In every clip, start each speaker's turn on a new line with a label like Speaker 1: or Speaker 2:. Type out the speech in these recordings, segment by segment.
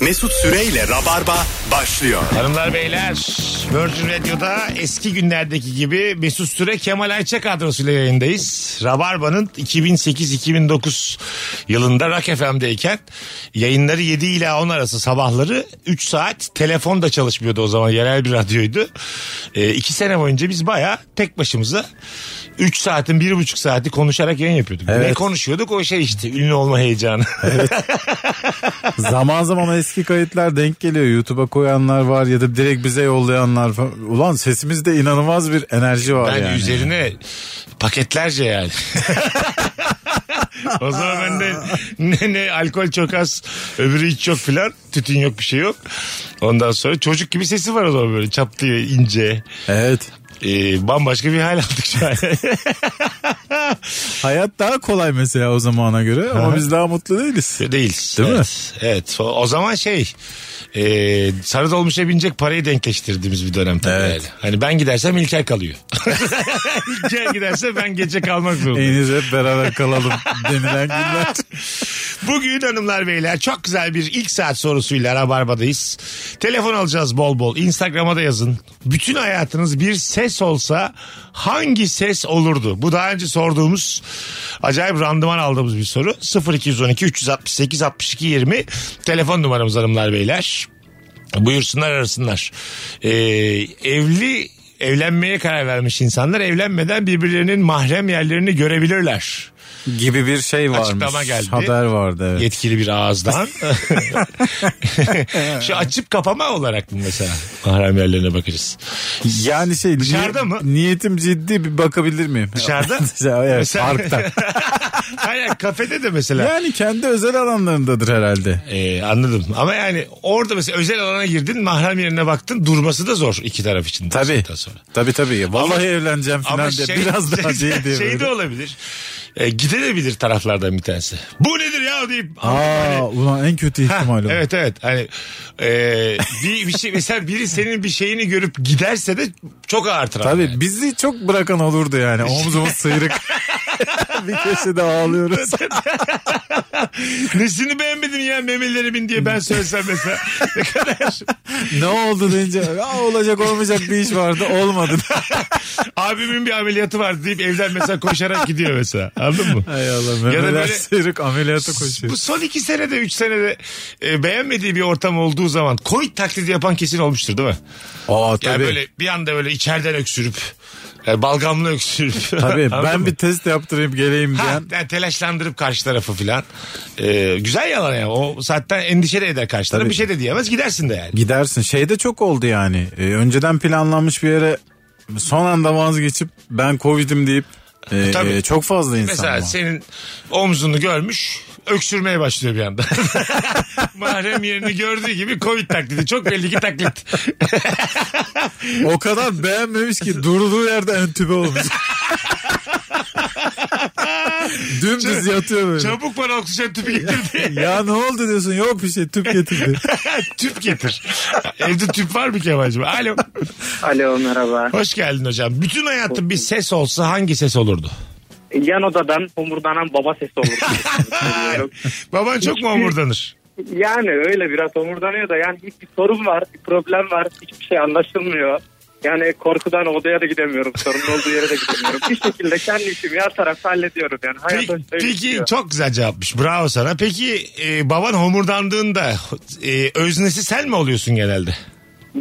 Speaker 1: Mesut Süreyle Rabarba başlıyor.
Speaker 2: Hanımlar beyler Virgin Radio'da eski günlerdeki gibi Mesut Süre Kemal Ayça kadrosuyla yayındayız. Rabarba'nın 2008-2009 yılında Rock FM'deyken yayınları 7 ile 10 arası sabahları 3 saat telefon da çalışmıyordu o zaman yerel bir radyoydu. 2 sene boyunca biz baya tek başımıza 3 saatin 1,5 saati konuşarak yayın yapıyorduk. Ne konuşuyorduk o şey işte ünlü olma heyecanı.
Speaker 3: zaman zaman eski kayıtlar denk geliyor. YouTube'a koyanlar var ya da direkt bize yollayanlar falan. Ulan sesimizde inanılmaz bir enerji var
Speaker 2: Ben
Speaker 3: yani.
Speaker 2: üzerine paketlerce yani. o zaman ben de ne ne alkol çok az öbürü hiç yok filan tütün yok bir şey yok. Ondan sonra çocuk gibi sesi var o zaman böyle çaptı ince
Speaker 3: Evet.
Speaker 2: Ee, bambaşka bir hal aldık şu an.
Speaker 3: Hayat daha kolay mesela o zamana göre ama biz daha mutlu değiliz.
Speaker 2: Değiliz.
Speaker 3: Değil mi?
Speaker 2: evet. Evet. O, o zaman şey e, sarı dolmuşa binecek parayı denkleştirdiğimiz bir dönem tabii
Speaker 3: Evet.
Speaker 2: yani. Hani ben gidersem İlker kalıyor. İlker giderse ben gece kalmak zorundayım.
Speaker 3: Eğiniz hep beraber kalalım denilen günler.
Speaker 2: Bugün hanımlar beyler çok güzel bir ilk saat sorusuyla Rabarba'dayız. Telefon alacağız bol bol. Instagram'a da yazın. Bütün hayatınız bir ses olsa hangi ses olurdu? Bu daha önce sorduğumuz acayip randıman aldığımız bir soru. 0212 368 62 20 telefon numaramız hanımlar beyler. Buyursunlar arasınlar. Ee, evli evlenmeye karar vermiş insanlar evlenmeden birbirlerinin mahrem yerlerini görebilirler.
Speaker 3: Gibi bir şey varmış.
Speaker 2: Açıklama geldi.
Speaker 3: Haber vardı evet.
Speaker 2: yetkili bir ağızdan. Şu açıp kapama olarak mı mesela mahrem yerlerine bakacağız?
Speaker 3: Yani şey
Speaker 2: Dışarıda mı?
Speaker 3: Niyetim ciddi bir bakabilir miyim?
Speaker 2: Dışarıda?
Speaker 3: evet
Speaker 2: Mesela-
Speaker 3: parkta.
Speaker 2: Hayır kafede de mesela.
Speaker 3: Yani kendi özel alanlarındadır herhalde.
Speaker 2: Ee, anladım. Ama yani orada mesela özel alana girdin, mahrem yerine baktın, durması da zor iki taraf için. de
Speaker 3: Tabii.
Speaker 2: saatten sonra.
Speaker 3: Tabii tabii. Vallahi
Speaker 2: Ama-
Speaker 3: evleneceğim
Speaker 2: Ama
Speaker 3: falan diye.
Speaker 2: şey,
Speaker 3: Biraz daha
Speaker 2: şey,
Speaker 3: şey diye.
Speaker 2: şey
Speaker 3: böyle.
Speaker 2: de olabilir. Ee, gidebilir taraflardan bir tanesi. Bu nedir ya deyip
Speaker 3: Aa ulan en kötü ihtimal o.
Speaker 2: Hani- Evet evet. Hani e, bir, bir şey mesela biri senin bir şeyini görüp giderse de çok ağır taraf.
Speaker 3: Tabii
Speaker 2: yani.
Speaker 3: bizi çok bırakan olurdu yani. Omzumuz sıyrık. bir köşede ağlıyoruz.
Speaker 2: Nesini beğenmedin ya memelerimin diye ben söylesem mesela. Ne kadar.
Speaker 3: ne oldu deyince "Aa, olacak olmayacak bir iş vardı olmadı.
Speaker 2: Abimin bir ameliyatı vardı deyip evden mesela koşarak gidiyor mesela. Anladın mı?
Speaker 3: Hay Allah
Speaker 2: Ya da
Speaker 3: memeler
Speaker 2: böyle-
Speaker 3: sıyrık ameliyata koşuyor.
Speaker 2: Bu son iki senede, üç senede e, beğenmediği bir ortam olduğu zaman Covid taklidi yapan kesin olmuştur değil mi?
Speaker 3: Aa
Speaker 2: Yani
Speaker 3: tabii.
Speaker 2: böyle bir anda böyle içeriden öksürüp, e, balgamlı öksürüp.
Speaker 3: Tabii
Speaker 2: Anladın
Speaker 3: ben
Speaker 2: mı?
Speaker 3: bir test yaptırayım geleyim
Speaker 2: Ha,
Speaker 3: diyen.
Speaker 2: yani telaşlandırıp karşı tarafı filan. E, güzel yalan ya. O zaten endişe de eder karşı taraf.
Speaker 3: Tabii.
Speaker 2: Bir şey de diyemez gidersin de yani.
Speaker 3: Gidersin. Şey de çok oldu yani. Ee, önceden planlanmış bir yere son anda vazgeçip ben Covid'im deyip e,
Speaker 2: Tabii.
Speaker 3: e, çok fazla insan
Speaker 2: Mesela
Speaker 3: var.
Speaker 2: senin omzunu görmüş öksürmeye başlıyor bir anda. Mahrem yerini gördüğü gibi Covid taklidi. Çok belli ki taklit.
Speaker 3: O kadar beğenmemiş ki durduğu yerde entübe olmuş. Dümdüz yatıyor böyle.
Speaker 2: Çabuk bana oksijen tüpü getirdi.
Speaker 3: Ya ne oldu diyorsun? Yok bir şey tüp getirdi.
Speaker 2: tüp getir. Evde tüp var mı Kemal'cim? Alo.
Speaker 4: Alo merhaba.
Speaker 2: Hoş geldin hocam. Bütün hayatın bir ses olsa hangi ses olurdu?
Speaker 4: Yan odadan homurdanan baba sesi olur.
Speaker 2: Baban çok mu omurdanır?
Speaker 4: yani öyle biraz homurdanıyor da yani hiçbir sorun var, bir problem var, hiçbir şey anlaşılmıyor. Yani korkudan odaya da gidemiyorum, sorunun olduğu yere de gidemiyorum. Bir şekilde kendi işimi her tarafta hallediyorum yani. Hayat
Speaker 2: Peki,
Speaker 4: öyle
Speaker 2: peki
Speaker 4: gidiyor.
Speaker 2: çok güzel cevapmış. Bravo sana. Peki e, baban homurdandığında e, öznesi sen mi oluyorsun genelde?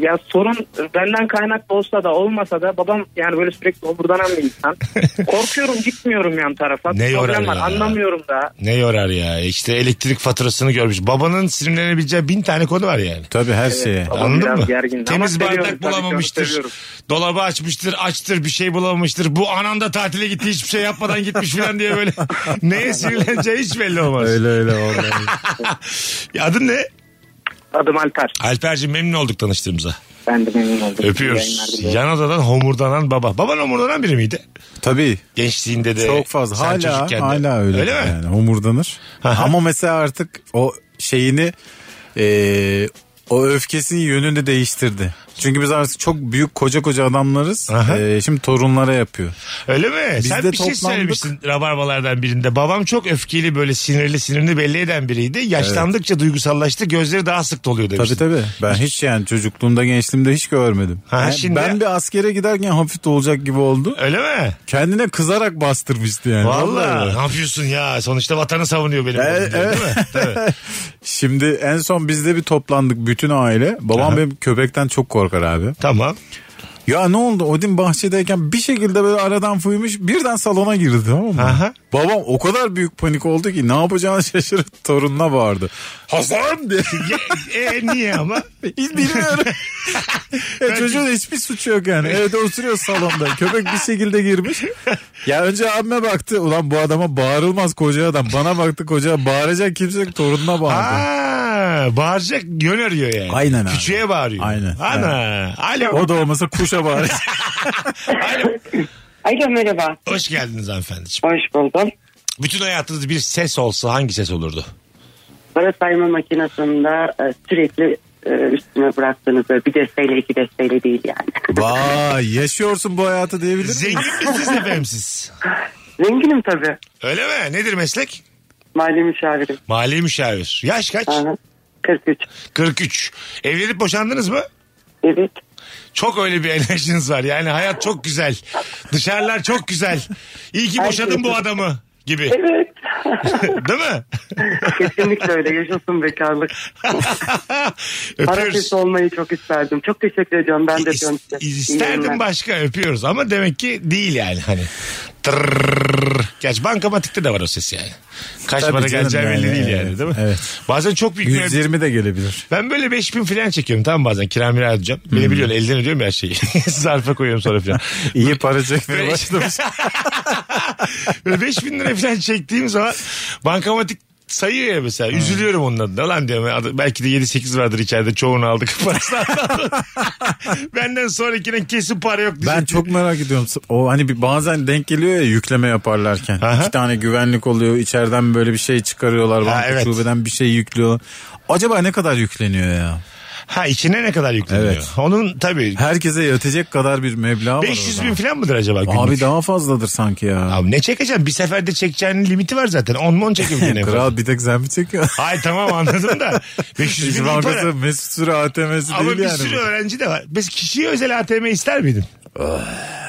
Speaker 4: Ya sorun benden kaynaklı olsa da olmasa da babam yani böyle sürekli homurdanan bir insan. Korkuyorum gitmiyorum yan tarafa.
Speaker 2: Ne yorar
Speaker 4: problem var
Speaker 2: ya?
Speaker 4: anlamıyorum da.
Speaker 2: Ne yorar ya? İşte elektrik faturasını görmüş. Babanın sinirlenebileceği bin tane konu var yani.
Speaker 3: Tabii her şeye.
Speaker 4: Babam
Speaker 2: Anladın
Speaker 4: biraz
Speaker 2: mı?
Speaker 4: gergin. Ama
Speaker 2: Temiz
Speaker 4: seviyorum,
Speaker 2: bardak
Speaker 4: tabii ki onu
Speaker 2: bulamamıştır.
Speaker 4: seviyorum.
Speaker 2: Dolabı açmıştır, açtır bir şey bulamamıştır. Bu ananda tatile gitti hiçbir şey yapmadan gitmiş falan diye böyle. Neye sinirleneceği hiç belli olmaz.
Speaker 3: Öyle öyle vallahi.
Speaker 2: Ya Adın ne?
Speaker 4: Adım Alper.
Speaker 2: Alper'cim memnun olduk tanıştığımıza.
Speaker 4: Ben de memnun oldum.
Speaker 2: Öpüyoruz.
Speaker 4: Yayınlar diliyorum.
Speaker 2: Yan odadan homurdanan baba. Baban homurdanan biri miydi?
Speaker 3: Tabii
Speaker 2: Gençliğinde de.
Speaker 3: çok fazla.
Speaker 2: sen
Speaker 3: Hala
Speaker 2: çocukken de.
Speaker 3: hala öyle.
Speaker 2: Öyle mi?
Speaker 3: Yani homurdanır. Ama mesela artık o şeyini e, o öfkesinin yönünü de değiştirdi. Çünkü biz artık çok büyük koca koca adamlarız.
Speaker 2: Aha.
Speaker 3: Ee, şimdi torunlara yapıyor.
Speaker 2: Öyle mi?
Speaker 3: Biz
Speaker 2: Sen
Speaker 3: de
Speaker 2: bir
Speaker 3: toplandık.
Speaker 2: şey söylemiştin rabarbalardan birinde. Babam çok öfkeli böyle sinirli sinirini belli eden biriydi. Yaşlandıkça duygusallaştı gözleri daha sık doluyor demiştin.
Speaker 3: Tabii tabii. Ben hiç yani çocukluğumda gençliğimde hiç görmedim.
Speaker 2: Ha,
Speaker 3: Yani
Speaker 2: şimdi-
Speaker 3: Ben bir askere giderken hafif de olacak gibi oldu.
Speaker 2: Öyle mi?
Speaker 3: Kendine kızarak bastırmıştı yani.
Speaker 2: Vallahi ne yapıyorsun ya? Sonuçta vatanı savunuyor benim. oğlum diyor, Değil mi? Tabii.
Speaker 3: Şimdi en son bizde bir toplandık bütün aile. Babam
Speaker 2: Aha.
Speaker 3: benim köpekten çok korkar abi.
Speaker 2: tamam.
Speaker 3: Ya ne oldu Odin bahçedeyken bir şekilde böyle aradan fuymuş birden salona girdi tamam mı?
Speaker 2: Aha.
Speaker 3: Babam o kadar büyük panik oldu ki ne yapacağını şaşırıp torununa bağırdı. Hasan diye.
Speaker 2: E, e, niye ama?
Speaker 3: Hiç bilmiyorum. ya çocuğun hiçbir suçu yok yani. Evde oturuyor salonda. Köpek bir şekilde girmiş. Ya önce abime baktı. Ulan bu adama bağırılmaz koca adam. Bana baktı koca bağıracak kimse yok. Torununa bağırdı.
Speaker 2: Ha, bağıracak yön arıyor yani.
Speaker 3: Aynen abi.
Speaker 2: Küçüğe bağırıyor.
Speaker 3: Aynen.
Speaker 2: Ana. Alo.
Speaker 3: O da olmasa kuşa bağıracak.
Speaker 2: Alo.
Speaker 5: Alo merhaba.
Speaker 2: Hoş geldiniz hanımefendiciğim.
Speaker 5: Hoş buldum.
Speaker 2: Bütün hayatınız bir ses olsa hangi ses olurdu?
Speaker 5: Para sayma makinesinde e, sürekli e, üstüme bıraktığınız böyle bir desteyle iki desteyle değil yani.
Speaker 3: Vay yaşıyorsun bu hayatı diyebilir miyim?
Speaker 2: Zengin misiniz efendim siz?
Speaker 5: Zenginim tabii.
Speaker 2: Öyle mi? Nedir meslek?
Speaker 5: Mali müşavirim.
Speaker 2: Mali müşavir. Yaş kaç?
Speaker 5: Aha. 43.
Speaker 2: 43. Evlenip boşandınız mı?
Speaker 5: Evet.
Speaker 2: Çok öyle bir enerjiniz var. Yani hayat çok güzel. Dışarılar çok güzel. İyi ki boşadın bu adamı gibi.
Speaker 5: Evet.
Speaker 2: Değil mi?
Speaker 5: Kesinlikle öyle. Yaşasın bekarlık. Para
Speaker 2: Öpüyoruz.
Speaker 5: sesi olmayı çok isterdim. Çok teşekkür ediyorum. Ben de
Speaker 2: İs-
Speaker 5: öpüyorum size. İyi
Speaker 2: İsterdim
Speaker 5: yayınlar.
Speaker 2: başka öpüyoruz ama demek ki değil yani hani. Tırrrr. Gerçi bankamatikte de var o ses yani. Kaç
Speaker 3: Tabii
Speaker 2: para
Speaker 3: canım
Speaker 2: geleceği belli
Speaker 3: yani,
Speaker 2: değil yani
Speaker 3: evet,
Speaker 2: değil mi?
Speaker 3: evet.
Speaker 2: Bazen çok büyük bir
Speaker 3: 120 de gelebilir.
Speaker 2: Ben böyle 5000 falan çekiyorum tamam bazen kira mira ödeyeceğim.
Speaker 3: Hmm.
Speaker 2: Beni biliyorsun elden ödüyorum ya her şeyi. Zarfa koyuyorum sonra falan.
Speaker 3: İyi para çekmeye
Speaker 2: Beş-
Speaker 3: başlamış.
Speaker 2: Böyle 5000 lira falan çektiğim zaman bankamatik sayıyor ya mesela.
Speaker 3: Hmm.
Speaker 2: Üzülüyorum onun adına. Lan diyorum adı- belki de 7-8 vardır içeride çoğunu aldık parasını aldık. Benden sonrakine kesin para yok.
Speaker 3: Ben
Speaker 2: diyecek.
Speaker 3: çok merak ediyorum. O hani bir bazen denk geliyor ya yükleme yaparlarken.
Speaker 2: Aha.
Speaker 3: İki tane güvenlik oluyor. içeriden böyle bir şey çıkarıyorlar. Banka
Speaker 2: evet.
Speaker 3: şubeden bir şey yüklüyorlar. Acaba ne kadar yükleniyor ya?
Speaker 2: Ha içine ne kadar yükleniyor?
Speaker 3: Evet.
Speaker 2: Onun tabii
Speaker 3: Herkese yetecek kadar bir meblağ var
Speaker 2: 500
Speaker 3: orada.
Speaker 2: bin falan mıdır acaba günlük?
Speaker 3: Abi daha fazladır sanki ya.
Speaker 2: Abi ne çekeceksin? Bir seferde çekeceğinin limiti var zaten. 10 mon çekebilirsin. en fazla.
Speaker 3: Kral bir tek sen mi çekiyorsun?
Speaker 2: Hayır tamam anladım da. 500 bin
Speaker 3: İş
Speaker 2: iyi para.
Speaker 3: Bankası Mesut Süre ATM'si
Speaker 2: Ama
Speaker 3: değil
Speaker 2: bir
Speaker 3: yani.
Speaker 2: sürü
Speaker 3: bu.
Speaker 2: öğrenci de var. Biz kişiye özel ATM ister miydin?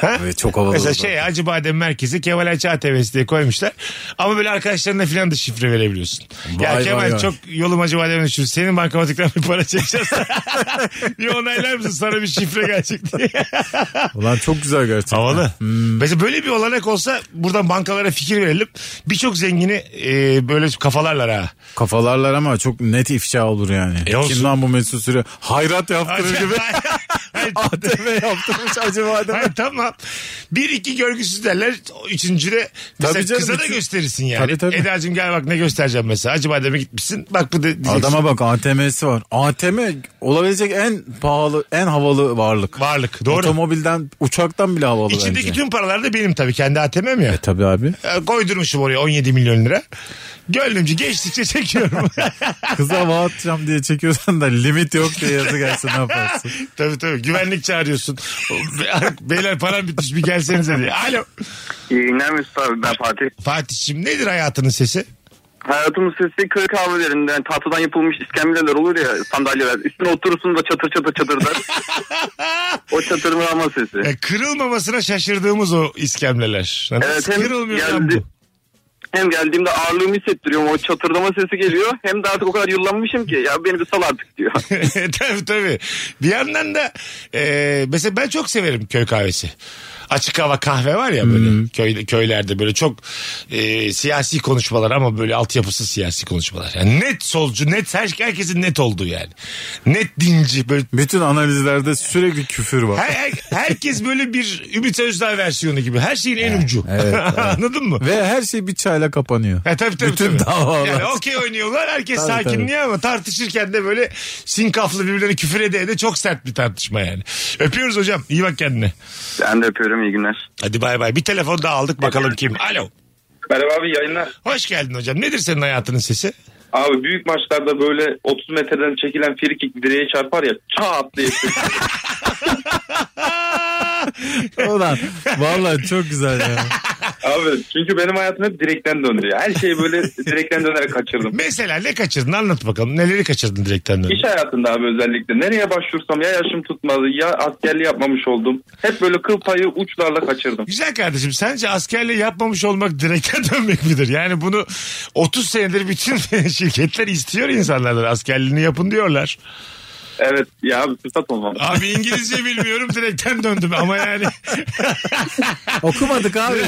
Speaker 2: Ha?
Speaker 3: Evet, çok havalı
Speaker 2: Mesela
Speaker 3: oldu.
Speaker 2: şey Acıbadem Merkezi Kemal Ayça ATM'si diye koymuşlar. Ama böyle arkadaşlarına filan da şifre verebiliyorsun. ya
Speaker 3: Vay,
Speaker 2: Kemal
Speaker 3: vay, vay.
Speaker 2: çok yolum Acıbadem'e düşür. Senin bankamatikten bir para çekeceğiz. bir onaylar mısın sana bir şifre gelecek diye.
Speaker 3: Ulan çok güzel gerçekten.
Speaker 2: Havalı.
Speaker 3: Hmm.
Speaker 2: Mesela böyle bir olanak olsa buradan bankalara fikir verelim. Birçok zengini e, böyle kafalarlar ha.
Speaker 3: Kafalarlar ama çok net ifşa olur yani.
Speaker 2: E olsun.
Speaker 3: Kim lan bu Mesut Süre? Hayrat yaptırır gibi.
Speaker 2: Hayır,
Speaker 3: ATM yaptırmış acaba değil mi?
Speaker 2: Hayır tamam. Bir iki görgüsüz derler. O Üçüncüde mesela
Speaker 3: Tabii canım,
Speaker 2: kıza da
Speaker 3: bütün-
Speaker 2: gösterirsin yani.
Speaker 3: Tabii, tabii.
Speaker 2: Eda'cığım gel bak ne göstereceğim mesela. Acaba deme gitmişsin. Bak bu da diyeceksin.
Speaker 3: Adama bak ATM'si var. ATM olabilecek en pahalı, en havalı varlık.
Speaker 2: Varlık doğru.
Speaker 3: Otomobilden, uçaktan bile havalı
Speaker 2: İçindeki
Speaker 3: bence.
Speaker 2: tüm paralar da benim tabii. Kendi ATM'm ya.
Speaker 3: E tabi abi.
Speaker 2: E, Koydurmuşum oraya 17 milyon lira. Gönlümce geçtikçe çekiyorum.
Speaker 3: Kıza hava atacağım diye çekiyorsan da limit yok diye yazı gelse ne yaparsın?
Speaker 2: tabii tabii. Güvenlik çağırıyorsun. Be- Beyler param bitmiş bir gelsenize diye. Alo.
Speaker 4: İyi yayınlar Mesut abi ben Fatih.
Speaker 2: Fatih'cim nedir hayatının sesi?
Speaker 4: Hayatımın sesi kırık kahvelerinde yani tahtadan yapılmış iskemleler olur ya sandalyeler. Üstüne oturursun da çatır çatır çatır der. o çatırmama sesi.
Speaker 2: E, kırılmamasına şaşırdığımız o iskemleler. Nasıl
Speaker 4: Evet, hem
Speaker 2: kırılmıyor lan
Speaker 4: geldi-
Speaker 2: bu?
Speaker 4: Hem geldiğimde ağırlığımı hissettiriyorum o çatırdama sesi geliyor. Hem de artık o kadar yıllanmışım ki ya beni bir sal artık diyor.
Speaker 2: tabii tabii. Bir yandan da e, mesela ben çok severim köy kahvesi. Açık hava kahve var ya böyle köy, köylerde böyle çok e, siyasi konuşmalar ama böyle altyapısı siyasi konuşmalar. Yani net solcu net her, herkesin net olduğu yani. Net dinci böyle
Speaker 3: Bütün analizlerde sürekli küfür var.
Speaker 2: her, her- herkes böyle bir Ümit Özdağ versiyonu gibi. Her şeyin en ucu. Anladın mı?
Speaker 3: Ve her şey bir çayla kapanıyor.
Speaker 2: Ha, E, tabii tabii. tabii.
Speaker 3: Bütün davalar.
Speaker 2: Yani okey oynuyorlar. Herkes
Speaker 3: Tabii,
Speaker 2: sakinliği ama tartışırken de böyle sinkaflı birbirlerine küfür ede de çok sert bir tartışma yani. Öpüyoruz hocam. İyi bak kendine.
Speaker 4: ben de öpüyorum iyi günler.
Speaker 2: Hadi bay bay. Bir telefon daha aldık bakalım kim. Alo.
Speaker 4: Merhaba abi yayınlar.
Speaker 2: Hoş geldin hocam. Nedir senin hayatının sesi?
Speaker 4: Abi büyük maçlarda böyle 30 metreden çekilen frikik direğe çarpar ya çat diye.
Speaker 3: Ulan valla çok güzel ya.
Speaker 4: abi çünkü benim hayatım hep direkten döndü ya. Her şeyi böyle direkten dönerek kaçırdım.
Speaker 2: Mesela ne kaçırdın anlat bakalım. Neleri kaçırdın direkten dönüp?
Speaker 4: İş hayatında abi özellikle nereye başvursam ya yaşım tutmadı ya askerliği yapmamış oldum. Hep böyle kıl payı uçlarla kaçırdım.
Speaker 2: Güzel kardeşim sence askerliği yapmamış olmak direkten dönmek midir? Yani bunu 30 senedir bütün şirketler istiyor insanlardan askerliğini yapın diyorlar.
Speaker 4: Evet ya abi fırsat olmam.
Speaker 2: Abi İngilizce bilmiyorum direkten döndüm ama yani
Speaker 3: Okumadık abi.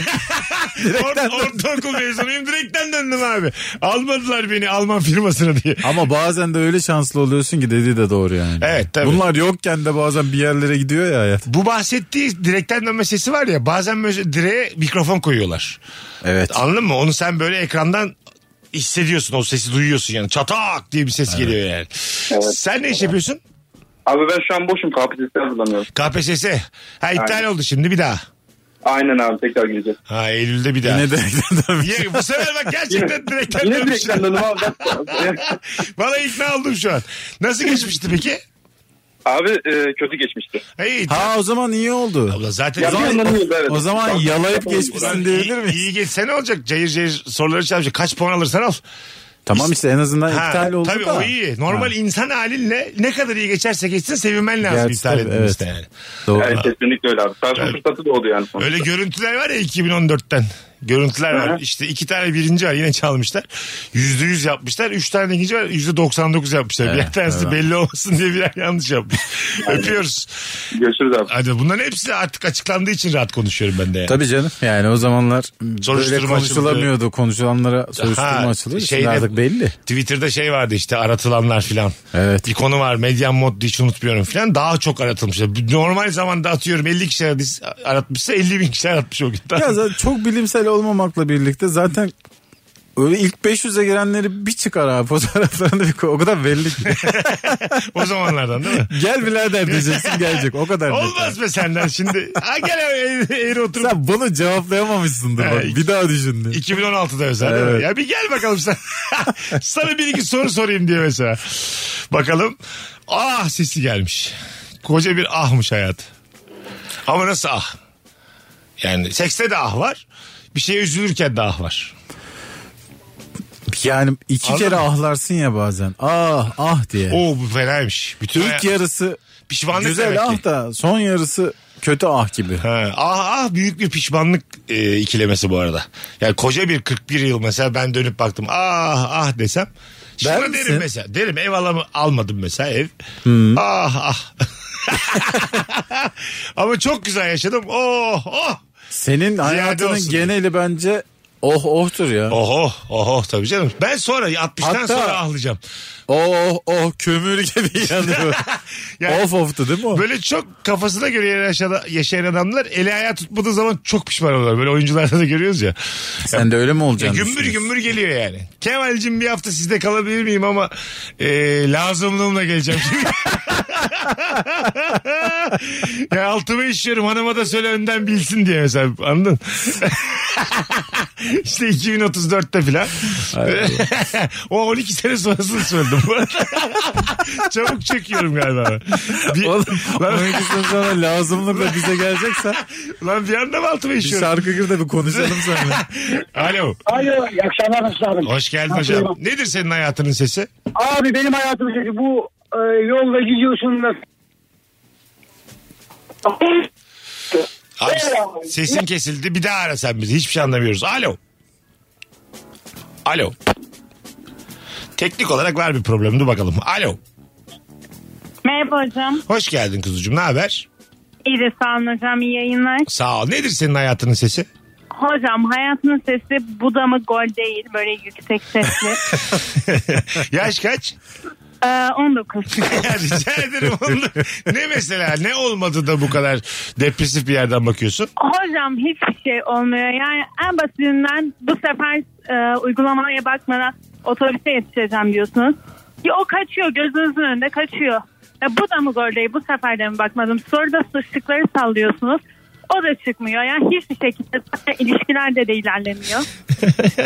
Speaker 2: or- ortaokul mezunuyum direkten döndüm abi. Almadılar beni Alman firmasına diye.
Speaker 3: Ama bazen de öyle şanslı oluyorsun ki dediği de doğru yani.
Speaker 2: Evet, tabii.
Speaker 3: Bunlar yokken de bazen bir yerlere gidiyor ya hayat.
Speaker 2: Bu bahsettiği direkten dönme sesi var ya bazen böyle direğe mikrofon koyuyorlar.
Speaker 3: Evet.
Speaker 2: Anladın mı? Onu sen böyle ekrandan hissediyorsun o sesi duyuyorsun yani çatak diye bir ses geliyor yani. Sen ne iş yapıyorsun?
Speaker 4: Abi ben şu an boşum KPSS'e hazırlanıyorum.
Speaker 2: KPSS. Ha iptal
Speaker 4: Aynen.
Speaker 2: oldu şimdi bir daha.
Speaker 4: Aynen abi tekrar gireceğiz.
Speaker 2: Ha Eylül'de bir daha.
Speaker 3: Yine de
Speaker 2: Ya, bu sefer bak gerçekten direkten
Speaker 4: Yine
Speaker 2: dönmüş.
Speaker 4: direkten döndüm abi.
Speaker 2: Valla ikna oldum şu an. Nasıl geçmişti peki?
Speaker 4: abi e, kötü geçmişti.
Speaker 2: İyi.
Speaker 3: Ha o zaman iyi oldu.
Speaker 2: Abla zaten
Speaker 4: Ya bir
Speaker 2: Ulan
Speaker 4: yandan iyi, evet.
Speaker 3: O zaman
Speaker 4: Tamam.
Speaker 3: yalayıp
Speaker 2: iyi-
Speaker 3: geçmişsin diyebilir miyiz?
Speaker 2: Ee, iyi geçse ne olacak? Cayır cayır soruları çalacak. Kaç puan alırsan al.
Speaker 3: Tamam işte en azından
Speaker 2: Ha,
Speaker 3: iptal oldu
Speaker 2: tabii
Speaker 3: da.
Speaker 2: o iyi. Normal insan halinle ne kadar iyi geçerse geçsin sevinmen lazım
Speaker 3: Gerçi
Speaker 2: iptal
Speaker 3: tabii,
Speaker 2: edilmişte
Speaker 3: evet.
Speaker 2: yani.
Speaker 3: Doğru.
Speaker 4: Evet kesinlikle öyle abi. Sarkı fırsatı da oldu yani sonra.
Speaker 2: Öyle görüntüler var ya 2014'ten. Görüntüler var.
Speaker 4: Hı.
Speaker 2: İşte iki tane birinci var yine çalmışlar. Yüzde yüz yapmışlar. Üç tane ikinci var yüzde 99 yapmışlar. bir tanesi belli olmasın diye birer yanlış yapmış. Öpüyoruz.
Speaker 4: Görüşürüz abi.
Speaker 2: Hadi bunların hepsi artık açıklandığı için rahat konuşuyorum ben de. yani.
Speaker 3: Tabii canım yani o zamanlar
Speaker 2: Soruşturma
Speaker 3: böyle konuşulamıyordu. Konuşulanlara soruşturma
Speaker 2: Ha,
Speaker 3: açılıyor. Şimdi
Speaker 2: şeyde-
Speaker 3: artık belli.
Speaker 2: Twitter'da şey vardı işte aratılanlar filan.
Speaker 3: Evet.
Speaker 2: Bir konu var medyan mod hiç unutmuyorum filan. Daha çok aratılmışlar. Normal zamanda atıyorum 50 kişi aradıysa- aratmışsa 50 bin kişi aratmış o gün.
Speaker 3: Ya zaten çok bilimsel olmamakla birlikte zaten öyle ilk 500'e girenleri bir çıkar abi fotoğraflarında bir koy. O kadar belli ki.
Speaker 2: o zamanlardan değil mi?
Speaker 3: Gel birader diyeceksin gelecek o kadar. net.
Speaker 2: Olmaz be senden şimdi. Ha gel eğri- eğri oturup
Speaker 3: Sen bunu cevaplayamamışsındır bak.
Speaker 2: Evet.
Speaker 3: Bir daha düşün diye.
Speaker 2: 2016'da özel değil mi?
Speaker 3: Evet.
Speaker 2: Ya bir gel bakalım sen. Sana bir iki soru sorayım diye mesela. Bakalım. Ah sesi gelmiş. Koca bir ahmış hayat. Ama nasıl ah? Yani sekste de ah var. Bir şeye üzülürken de ah var.
Speaker 3: Yani iki
Speaker 2: Anladın
Speaker 3: kere
Speaker 2: mı?
Speaker 3: ahlarsın ya bazen. Ah ah diye.
Speaker 2: Oo bu fenaymış. Bütün
Speaker 3: İlk yarısı
Speaker 2: pişmanlık
Speaker 3: güzel
Speaker 2: demek ki.
Speaker 3: ah da son yarısı kötü ah gibi.
Speaker 2: Ha, ah ah büyük bir pişmanlık e, ikilemesi bu arada. Yani koca bir 41 yıl mesela ben dönüp baktım ah ah desem. Şuna
Speaker 3: Der
Speaker 2: derim
Speaker 3: misin? Hmm.
Speaker 2: mesela. Derim ev alamı, almadım mesela ev. Ah ah. Ama çok güzel yaşadım. Oh oh.
Speaker 3: Senin hayatının
Speaker 2: olsun.
Speaker 3: geneli bence oh ohtur ya. Oh
Speaker 2: Oho oho tabii canım. Ben sonra 60'tan
Speaker 3: Hatta-
Speaker 2: sonra ahlayacağım.
Speaker 3: oh, oh kömür gibi yanıyor.
Speaker 2: Yani-
Speaker 3: of oftu değil mi o?
Speaker 2: Böyle çok kafasına göre yaşayan, yaşayan adamlar eli ayağı tutmadığı zaman çok pişman oluyorlar. Böyle oyuncularda da görüyoruz ya.
Speaker 3: Sen de öyle mi
Speaker 2: Ya E,
Speaker 3: olacaksın?
Speaker 2: gümbür gümbür geliyor yani. Kemal'cim bir hafta sizde kalabilir miyim ama e, lazımlığımla geleceğim. ya altıma işiyorum hanıma da söyle önden bilsin diye mesela anladın? işte 2034'te filan. o 12 sene sonrasını söyledim bu arada. Çabuk çekiyorum galiba. ben. Bir,
Speaker 3: Oğlum
Speaker 2: lan,
Speaker 3: 12 sene sonra lazımlıkla bize gelecekse
Speaker 2: lan bir anda mı altıma
Speaker 3: bir
Speaker 2: işiyorum?
Speaker 3: şarkı gir de bir konuşalım seninle.
Speaker 2: Alo.
Speaker 6: Alo, iyi akşamlar Mesut abi.
Speaker 2: Hoş geldin
Speaker 3: Şey
Speaker 2: hocam. Nedir senin hayatının sesi?
Speaker 6: Abi benim hayatım dedi bu e, yolda gidiyorsun da...
Speaker 2: Abi
Speaker 6: Merhaba.
Speaker 2: sesin kesildi. Bir daha ara sen bizi. Hiçbir şey anlamıyoruz. Alo. Alo. Teknik olarak var bir problem. Dur bakalım. Alo.
Speaker 7: Merhaba hocam.
Speaker 2: Hoş geldin kuzucuğum. Ne haber?
Speaker 7: İyi de sağ olun hocam. İyi yayınlar.
Speaker 2: Sağ ol. Nedir senin hayatının sesi?
Speaker 7: Hocam hayatının sesi bu da mı gol değil böyle yüksek sesli.
Speaker 2: Yaş kaç?
Speaker 7: ee, 19.
Speaker 2: Ya Rica ederim. Onu- ne mesela? Ne olmadı da bu kadar depresif bir yerden bakıyorsun?
Speaker 7: Hocam hiçbir şey olmuyor. Yani en basitinden bu sefer e, uygulamaya bakmadan otobüse yetişeceğim diyorsunuz. Ya o kaçıyor gözünüzün önünde kaçıyor. Ya bu da mı gol değil bu sefer de mi bakmadım? Sonra da suçlukları sallıyorsunuz. O da çıkmıyor. Yani hiçbir şekilde zaten ilişkilerde de ilerlemiyor.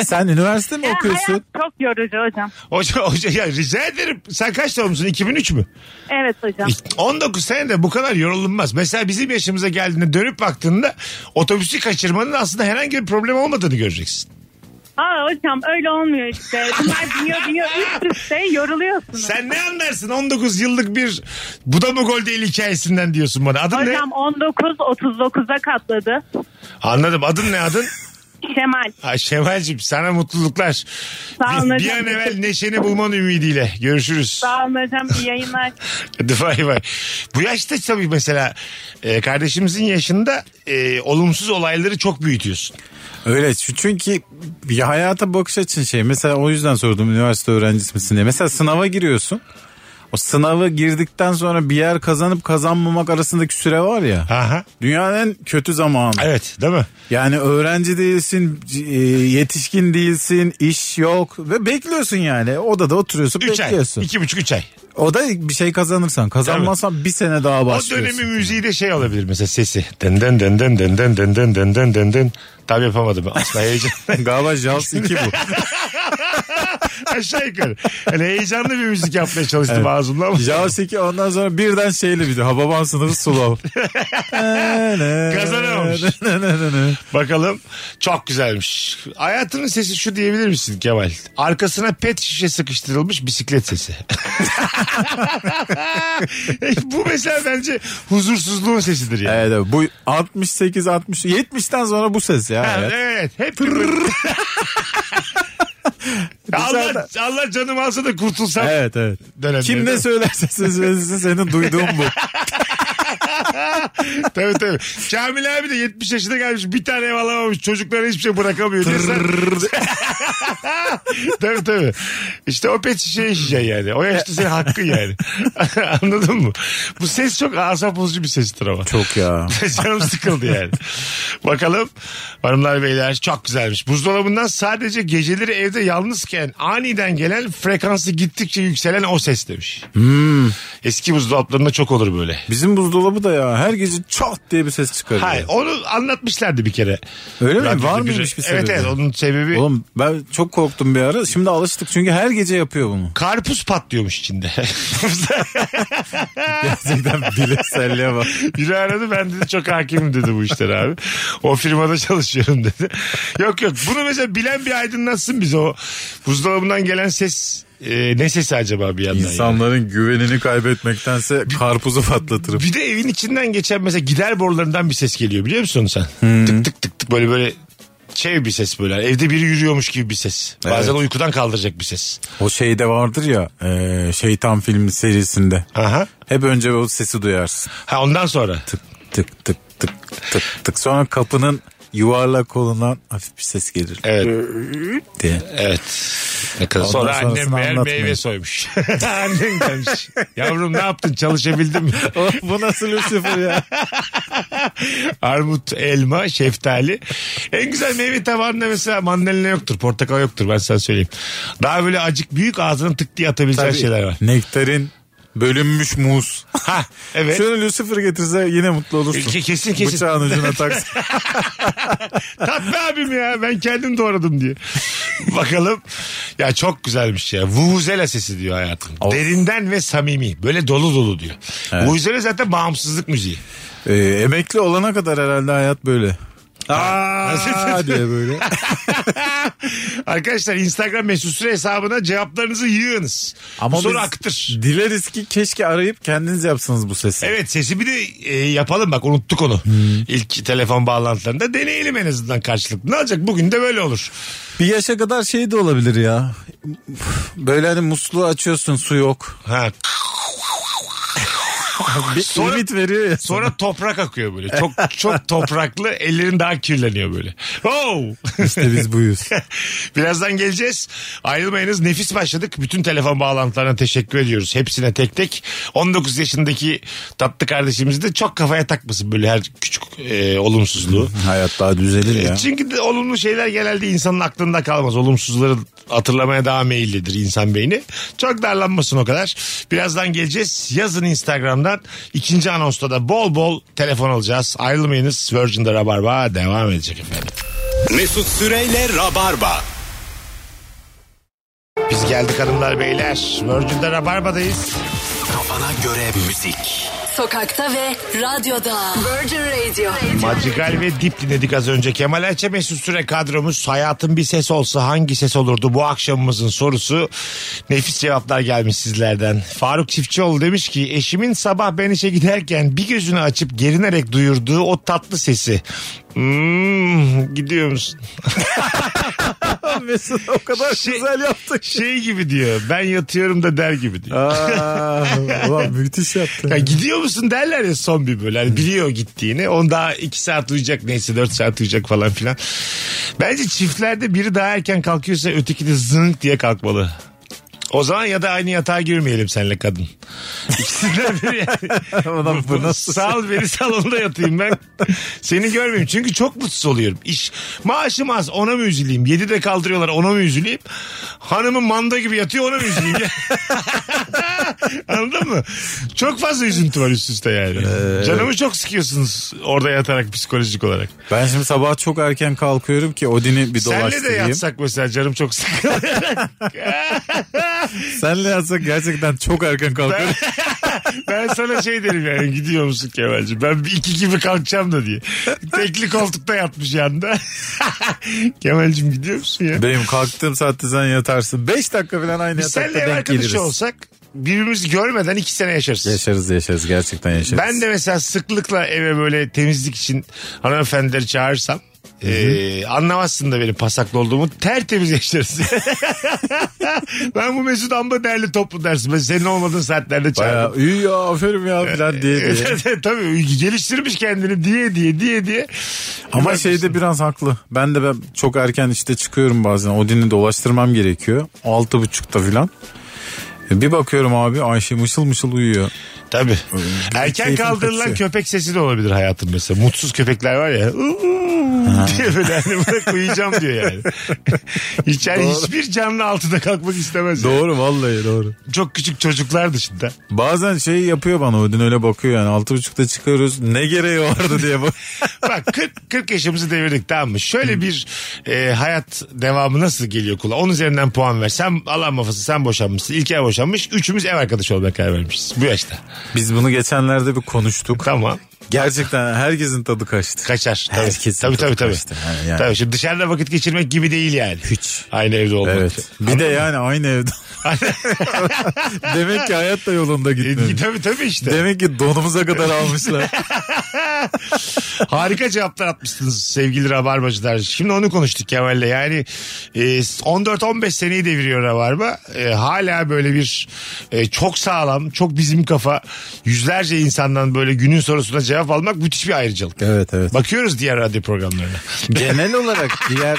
Speaker 3: Sen üniversite mi
Speaker 7: Ya
Speaker 3: okuyorsun?
Speaker 7: hayat çok yorucu hocam.
Speaker 2: Hoca, hoca ya rica ederim. Sen kaç doğumlusun? 2003 mü?
Speaker 7: Evet hocam.
Speaker 2: 19 senede bu kadar yorulunmaz. Mesela bizim yaşımıza geldiğinde dönüp baktığında otobüsü kaçırmanın aslında herhangi bir problem olmadığını göreceksin.
Speaker 7: Aa hocam öyle olmuyor işte. Bunlar biniyor biniyor üst üste yoruluyorsunuz.
Speaker 2: Sen ne anlarsın 19 yıllık bir bu da mı gol değil hikayesinden diyorsun bana. Adın
Speaker 7: Hocam
Speaker 2: ne?
Speaker 7: 19 39'a katladı.
Speaker 2: Anladım. Adın ne adın?
Speaker 7: Şemal.
Speaker 2: Ay Şevval'cim sana mutluluklar.
Speaker 7: Sağ olun
Speaker 2: Bir, bir
Speaker 7: hocam.
Speaker 2: an evvel neşeni bulman ümidiyle. Görüşürüz.
Speaker 7: Sağ olun hocam iyi yayınlar.
Speaker 2: Hadi bay bay. Bu yaşta tabii mesela e, kardeşimizin yaşında e, olumsuz olayları çok büyütüyorsun.
Speaker 3: Öyle Şu- çünkü ya hayata bakış açın şey. Mesela o yüzden sordum üniversite öğrencisi misin diye. Mesela sınava giriyorsun. O sınavı girdikten sonra bir yer kazanıp kazanmamak arasındaki süre var ya.
Speaker 2: Aha.
Speaker 3: Dünyanın en kötü zamanı.
Speaker 2: Evet değil mi?
Speaker 3: Yani öğrenci değilsin, c- e, yetişkin değilsin, iş yok ve bekliyorsun yani. Odada oturuyorsun,
Speaker 2: 3 ay.
Speaker 3: bekliyorsun.
Speaker 2: 2,5-3 ay.
Speaker 3: O da bir şey kazanırsan, kazanmazsan bir sene daha
Speaker 2: O
Speaker 3: başlıyorsun.
Speaker 2: dönemin müziği de şey olabilir mesela sesi. Den den den den den den den den den den den den. Tam yapamadım aslında heyecan.
Speaker 3: Galiba Jaws 2 bu.
Speaker 2: Aşağı yukarı. Hani heyecanlı bir müzik yapmaya çalıştım ağzımla ama.
Speaker 3: Jaws 2 ondan sonra birden şeyli bir de Hababam sınıfı slow.
Speaker 2: Kazanamamış. Bakalım. Çok güzelmiş. Hayatının sesi şu diyebilir misin Kemal? Arkasına pet şişe sıkıştırılmış bisiklet sesi. E, Bu mesela bence huzursuzluğun sesidir yani.
Speaker 3: Evet, evet. bu 68 60 70'ten sonra bu ses ya.
Speaker 2: Ha,
Speaker 3: evet.
Speaker 2: Evet. Hep Allah, Allah canım alsa da kurtulsam.
Speaker 3: Evet evet.
Speaker 2: Dönemleri,
Speaker 3: Kim
Speaker 2: değil
Speaker 3: ne
Speaker 2: mi?
Speaker 3: söylerse söylesin senin duyduğun bu.
Speaker 2: tabii tabii. Kamil abi de 70 yaşına gelmiş. Bir tane ev alamamış. Çocuklara hiçbir şey bırakamıyor. diye sen- tabii tabii. İşte o pet şişe yaşayacaksın yani. O yaşta senin hakkın yani. Anladın mı? Bu ses çok asap bozucu bir sestir ama.
Speaker 3: Çok ya.
Speaker 2: Canım sıkıldı yani. Bakalım hanımlar beyler çok güzelmiş. Buzdolabından sadece geceleri evde yalnızken aniden gelen frekansı gittikçe yükselen o ses demiş.
Speaker 3: Hmm.
Speaker 2: Eski buzdolaplarında çok olur böyle.
Speaker 3: Bizim buzdolabı da ya her gece çat diye bir ses çıkarıyor.
Speaker 2: Hayır onu anlatmışlardı bir kere.
Speaker 3: Öyle mi?
Speaker 2: Radyoda
Speaker 3: Var
Speaker 2: bir-
Speaker 3: mıymış bir
Speaker 2: Evet
Speaker 3: sebebi?
Speaker 2: evet onun sebebi
Speaker 3: Oğlum ben çok korktum bir ara. Şimdi alıştık çünkü her gece yapıyor bunu.
Speaker 2: karpuz patlıyormuş içinde.
Speaker 3: Gerçekten bilimselliğe bak.
Speaker 2: Biri aradı ben dedi çok hakimim dedi bu işlere abi. O firmada çalışıyorum dedi. Yok yok bunu mesela bilen bir aydınlatsın bize o buzdolabından gelen ses e, ne sesi acaba bir yandan? yani?
Speaker 3: İnsanların güvenini kaybetmektense karpuzu patlatırım.
Speaker 2: Bir de evin içinden geçen mesela gider borularından bir ses geliyor biliyor musun onu sen? Tık tık tık tık böyle böyle şey bir ses böyle. Evde biri yürüyormuş gibi bir ses. Bazen
Speaker 3: Evet.
Speaker 2: uykudan kaldıracak bir ses.
Speaker 3: O şeyde vardır ya e, şeytan filmi serisinde.
Speaker 2: Aha.
Speaker 3: Hep önce o sesi duyarsın.
Speaker 2: Ha ondan sonra.
Speaker 3: Tık tık tık tık tık tık. Sonra kapının yuvarlak kolundan hafif bir ses gelir
Speaker 2: Evet.
Speaker 3: diye.
Speaker 2: Evet. Ne kadar-
Speaker 3: Ondan
Speaker 2: Sonra
Speaker 3: sonrasını
Speaker 2: annem meğer
Speaker 3: anlatmayın.
Speaker 2: meyve soymuş. Annen gelmiş. Yavrum ne yaptın çalışabildin mi?
Speaker 3: Bu nasıl Lucifer ya?
Speaker 2: Armut, elma, şeftali. En güzel meyve tabağında mesela mandalina yoktur, portakal yoktur ben sana söyleyeyim. Daha böyle acık büyük ağzına tık diye atabileceğin şeyler var.
Speaker 3: Nektarin bölünmüş muz.
Speaker 2: Ha evet.
Speaker 3: Şöyle Lucifer getirse yine mutlu olursun.
Speaker 2: Ke- kesin, kesin.
Speaker 3: Bıçağın ucuna taksın.
Speaker 2: Tatlı abim ya ben kendim doğradım diye. Bakalım. Ya çok güzelmiş ya. Vuvuzela sesi diyor hayatım.
Speaker 3: Of.
Speaker 2: Derinden ve samimi. Böyle dolu dolu diyor. Vuvuzela zaten bağımsızlık müziği.
Speaker 3: Ee, emekli olana kadar herhalde hayat böyle. Aa diye böyle.
Speaker 2: Arkadaşlar Instagram mesut süre hesabına cevaplarınızı yığınız. Ama
Speaker 3: biz
Speaker 2: soru akıtır.
Speaker 3: Dileriz ki keşke arayıp kendiniz yapsanız bu sesi.
Speaker 2: Evet sesi bir de e, yapalım bak unuttuk onu.
Speaker 3: Hmm.
Speaker 2: İlk telefon bağlantılarında deneyelim en azından karşılıklı. Ne olacak bugün de böyle olur.
Speaker 3: Bir yaşa kadar şey de olabilir ya. Böyle hani musluğu açıyorsun su yok.
Speaker 2: Ha,
Speaker 3: Bir
Speaker 2: Sonra-
Speaker 3: ümit veriyor ya.
Speaker 2: sonra toprak akıyor böyle. Çok çok topraklı ellerin daha kirleniyor böyle. Oh!
Speaker 3: İşte biz buyuz.
Speaker 2: Birazdan geleceğiz. Ayrılmayınız. Nefis başladık. Bütün telefon bağlantılarına teşekkür ediyoruz. Hepsine tek tek. 19 yaşındaki tatlı kardeşimiz de çok kafaya takmasın böyle her küçük e, olumsuzluğu. E,
Speaker 3: Hayat daha düzelir ya.
Speaker 2: Çünkü de olumlu şeyler genelde insanın aklında kalmaz. Olumsuzları hatırlamaya daha meyillidir insan beyni. Çok darlanmasın o kadar. Birazdan geleceğiz. Yazın Instagram'dan saat. İkinci anonsta da bol bol telefon alacağız. Ayrılmayınız. Virgin'de Rabarba devam edecek efendim.
Speaker 1: Mesut Süreyle Rabarba.
Speaker 2: Biz geldik hanımlar beyler. Virgin'de Rabarba'dayız.
Speaker 1: Kafana göre müzik.
Speaker 8: Sokakta ve radyoda. Virgin Radio.
Speaker 2: Madrigal ve Dip dinledik az önce. Kemal Ayça Mesut Süre kadromuz. Hayatın bir ses olsa hangi ses olurdu bu akşamımızın sorusu. Nefis cevaplar gelmiş sizlerden. Faruk Çiftçioğlu demiş ki eşimin sabah ben işe giderken bir gözünü açıp gerinerek duyurduğu o tatlı sesi. Hmm, gidiyor musun?
Speaker 3: Mesut o kadar
Speaker 2: Şey-
Speaker 3: güzel yaptı.
Speaker 2: Şey gibi diyor ben yatıyorum da der gibi diyor.
Speaker 3: Aa, ulan müthiş yaptın.
Speaker 2: Ya gidiyor musun derler ya son bir böyle. Hani biliyor gittiğini. On daha iki saat uyuyacak neyse dört saat uyuyacak falan filan. Bence çiftlerde biri daha erken kalkıyorsa öteki de zınk diye kalkmalı. O zaman ya da aynı yatağa girmeyelim senle kadın. İkisinden biri yani.
Speaker 3: Ulan bu nasıl?
Speaker 2: Sal beni salonda yatayım ben. Seni görmeyeyim. Çünkü çok mutsuz oluyorum. İş, maaşım az ona mı üzüleyim? Yedi de kaldırıyorlar ona mı üzüleyim? Hanımın manda gibi yatıyor ona mı üzüleyim? Anladın mı? Çok fazla üzüntü var üst üste
Speaker 3: Ee,
Speaker 2: yani. Canımı çok sıkıyorsunuz orada yatarak psikolojik olarak.
Speaker 3: Ben şimdi sabah çok erken kalkıyorum ki Odin'i bir
Speaker 2: Senle de
Speaker 3: dolaştırayım.
Speaker 2: yatsak mesela canım çok sıkılıyor.
Speaker 3: Senle yatsak gerçekten çok erken kalkarım.
Speaker 2: ben sana şey derim yani gidiyor musun Kemal'cim? Ben bir iki gibi kalkacağım da diye. Tekli koltukta yatmış yanda. Kemal'cim gidiyor musun ya?
Speaker 3: Benim kalktığım saatte sen yatarsın. 5 dakika falan aynı
Speaker 2: Biz
Speaker 3: yatakta
Speaker 2: seninle ev
Speaker 3: denk geliriz.
Speaker 2: arkadaşı olsak birbirimizi görmeden iki sene yaşarız.
Speaker 3: Yaşarız yaşarız gerçekten yaşarız.
Speaker 2: Ben de mesela sıklıkla eve böyle temizlik için hanımefendileri çağırsam e, anlamazsın da benim pasaklı olduğumu tertemiz yaşarız. ben bu Mesut Amba derli toplu dersin. Ben senin olmadığın saatlerde
Speaker 3: Bayağı
Speaker 2: çağırdım.
Speaker 3: iyi ya aferin ya falan diye diye.
Speaker 2: Tabii geliştirmiş kendini diye diye diye diye.
Speaker 3: Ama
Speaker 2: Bak-
Speaker 3: şeyde biraz haklı. Ben de ben çok erken işte çıkıyorum bazen. Odin'i dolaştırmam gerekiyor. Altı buçukta filan. E, Bir bakıyorum abi Ayşe mışıl mışıl uyuyor.
Speaker 2: Tabii. Erken
Speaker 3: keyfim
Speaker 2: kaldırılan
Speaker 3: kaçıyor.
Speaker 2: köpek sesi de olabilir hayatın mesela. Mutsuz köpekler var ya. "Uuu" diye böyle hani bırak uyuyacağım diyor yani. Hiç, yani hiçbir canlı altıda kalkmak istemez. yani.
Speaker 3: Doğru vallahi doğru.
Speaker 2: Çok küçük çocuklar dışında.
Speaker 3: Bazen şey yapıyor bana Odin öyle bakıyor yani. Altı buçukta çıkıyoruz ne gereği vardı diye bak.
Speaker 2: Bak 40, 40 yaşımızı devirdik tamam mı? Şöyle bir e, hayat devamı nasıl geliyor kula? Onun üzerinden puan ver. Sen Allah muhafaza sen boşanmışsın. İlker boşanmış. Üçümüz ev arkadaşı olmaya karar vermişiz. Bu yaşta.
Speaker 3: Biz bunu geçenlerde bir konuştuk.
Speaker 2: Tamam.
Speaker 3: Gerçekten herkesin tadı kaçtı.
Speaker 2: Kaçar. Tabii.
Speaker 3: Herkesin
Speaker 2: tabii tabii
Speaker 3: tadı
Speaker 2: tabii.
Speaker 3: kaçtı. Ha, yani.
Speaker 2: Tabii şimdi dışarıda vakit geçirmek gibi değil yani.
Speaker 3: Hiç.
Speaker 2: Aynı evde olmak.
Speaker 3: Evet. Bir de yani aynı evde. Demek ki hayat da yolunda
Speaker 2: E,
Speaker 3: gitmiyor.
Speaker 2: tabii tabii işte.
Speaker 3: Demek ki donumuza kadar almışlar.
Speaker 2: Harika cevaplar atmışsınız sevgili Rabarbacılar. Şimdi onu konuştuk Kemal'le. Yani e, 14-15 seneyi deviriyor Rabarba. E, hala böyle bir e, çok sağlam, çok bizim kafa yüzlerce insandan böyle günün sorusuna cevap almak müthiş bir ayrıcalık.
Speaker 3: evet evet.
Speaker 2: Bakıyoruz diğer radyo programlarına.
Speaker 3: Genel olarak diğer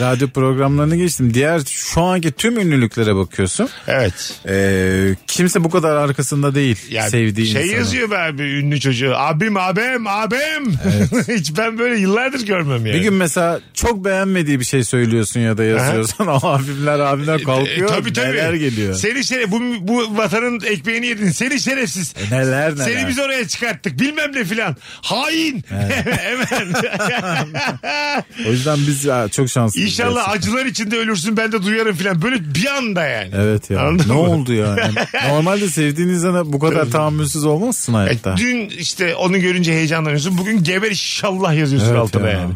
Speaker 3: radyo programlarını geçtim. Diğer şu anki tüm ünlülüklere bakıyorsun.
Speaker 2: Evet.
Speaker 3: Ee, kimse bu kadar arkasında değil
Speaker 2: Yani
Speaker 3: sevdiği
Speaker 2: şey
Speaker 3: insanın.
Speaker 2: yazıyor be abi ünlü çocuğu. Abim abim abim. Hiç ben böyle yıllardır görmem yani.
Speaker 3: Bir gün mesela çok beğenmediği bir şey söylüyorsun ya da yazıyorsun. abimler abimler kalkıyor.
Speaker 2: E, tabii, tabii.
Speaker 3: Neler geliyor.
Speaker 2: Seni şeref bu, bu vatanın ekmeğini yedin. Seni şerefsiz.
Speaker 3: E, Neler neler.
Speaker 2: Seni biz oraya çıkarttık bilmem ne filan. Hain. Hemen.
Speaker 3: O yüzden biz ya, çok şanslıyız.
Speaker 2: İnşallah
Speaker 3: gerçekten.
Speaker 2: acılar içinde ölürsün ben de duyarım filan. Böyle bir anda yani.
Speaker 3: Evet ya.
Speaker 2: Anladın
Speaker 3: ne
Speaker 2: mı?
Speaker 3: oldu ya? Yani Normalde sevdiğin insana bu kadar tahammülsüz olmazsın
Speaker 2: E,
Speaker 3: hayatta.
Speaker 2: Dün işte onu görünce heyecanlanıyorsun. Bugün geber inşallah yazıyorsun
Speaker 3: Evet
Speaker 2: altına
Speaker 3: ya.
Speaker 2: yani.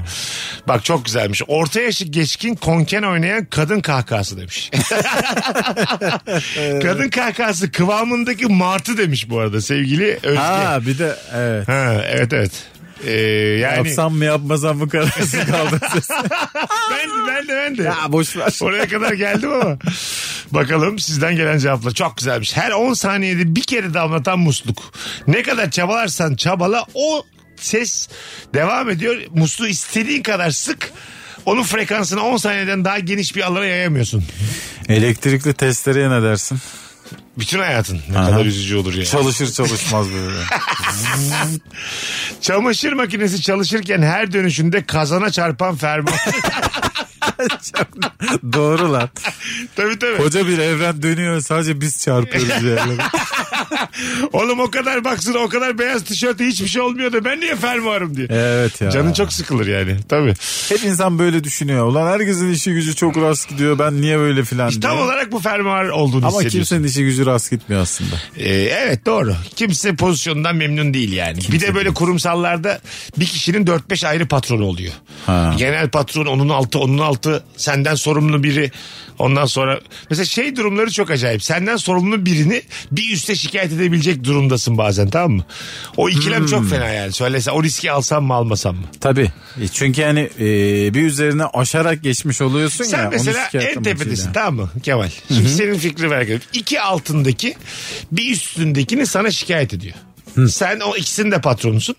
Speaker 2: Bak çok güzelmiş. Orta yaşı geçkin konken oynayan kadın kahkahası demiş. kadın kahkahası kıvamındaki martı demiş bu arada sevgili Özge.
Speaker 3: Ha bir de evet.
Speaker 2: Ha, evet evet. Ee, yani
Speaker 3: Yapsam mı yapmasam mı kararsız kaldım.
Speaker 2: ben de ben de ben de.
Speaker 3: ya boş ver.
Speaker 2: Oraya kadar geldim ama. Bakalım sizden gelen cevaplar çok güzelmiş. Her 10 saniyede bir kere damlatan musluk. Ne kadar çabalarsan çabala o ses devam ediyor. Musluğu istediğin kadar sık. Onun frekansını 10 saniyeden daha geniş bir alana yayamıyorsun.
Speaker 3: Elektrikli testereye ne dersin?
Speaker 2: Bütün hayatın ne
Speaker 3: Aha.
Speaker 2: kadar üzücü olur ya.
Speaker 3: Çalışır çalışmaz böyle.
Speaker 2: Çamaşır makinesi çalışırken her dönüşünde kazana çarpan fermuar.
Speaker 3: Doğru lan.
Speaker 2: tabii tabii.
Speaker 3: Koca bir evren dönüyor sadece biz çarpıyoruz yerlere.
Speaker 2: Oğlum o kadar baksana o kadar beyaz tişörte hiçbir şey olmuyor da ben niye fermuarım diye.
Speaker 3: Evet ya.
Speaker 2: Canın çok sıkılır yani. Tabii.
Speaker 3: Hep insan böyle düşünüyor. Ulan herkesin işi gücü çok rast gidiyor. Ben niye böyle filan diye.
Speaker 2: Tam olarak bu fermuar olduğunu
Speaker 3: Ama
Speaker 2: hissediyorsun.
Speaker 3: kimsenin işi gücü rast gitmiyor aslında.
Speaker 2: Ee, evet doğru. Kimse pozisyondan memnun değil yani. bir de böyle kurumsallarda bir kişinin 4-5 ayrı patronu oluyor.
Speaker 3: Ha.
Speaker 2: Genel patron onun altı onun altı senden sorumlu biri. Ondan sonra mesela şey durumları çok acayip. Senden sorumlu birini bir üste şikayet edebilecek durumdasın bazen tamam mı? O ikilem
Speaker 3: Hmm.
Speaker 2: çok fena yani. Söylese o riski alsam mı almasam mı?
Speaker 3: Tabii. E, Çünkü yani e, bir üzerine aşarak geçmiş oluyorsun
Speaker 2: Sen
Speaker 3: ya. onu
Speaker 2: mesela
Speaker 3: şikayet
Speaker 2: en
Speaker 3: amacıyla.
Speaker 2: tepedesin tamam mı Kemal? Şimdi senin fikri merak ediyorum. İki altındaki bir üstündekini sana şikayet ediyor. Sen o ikisinin de patronusun.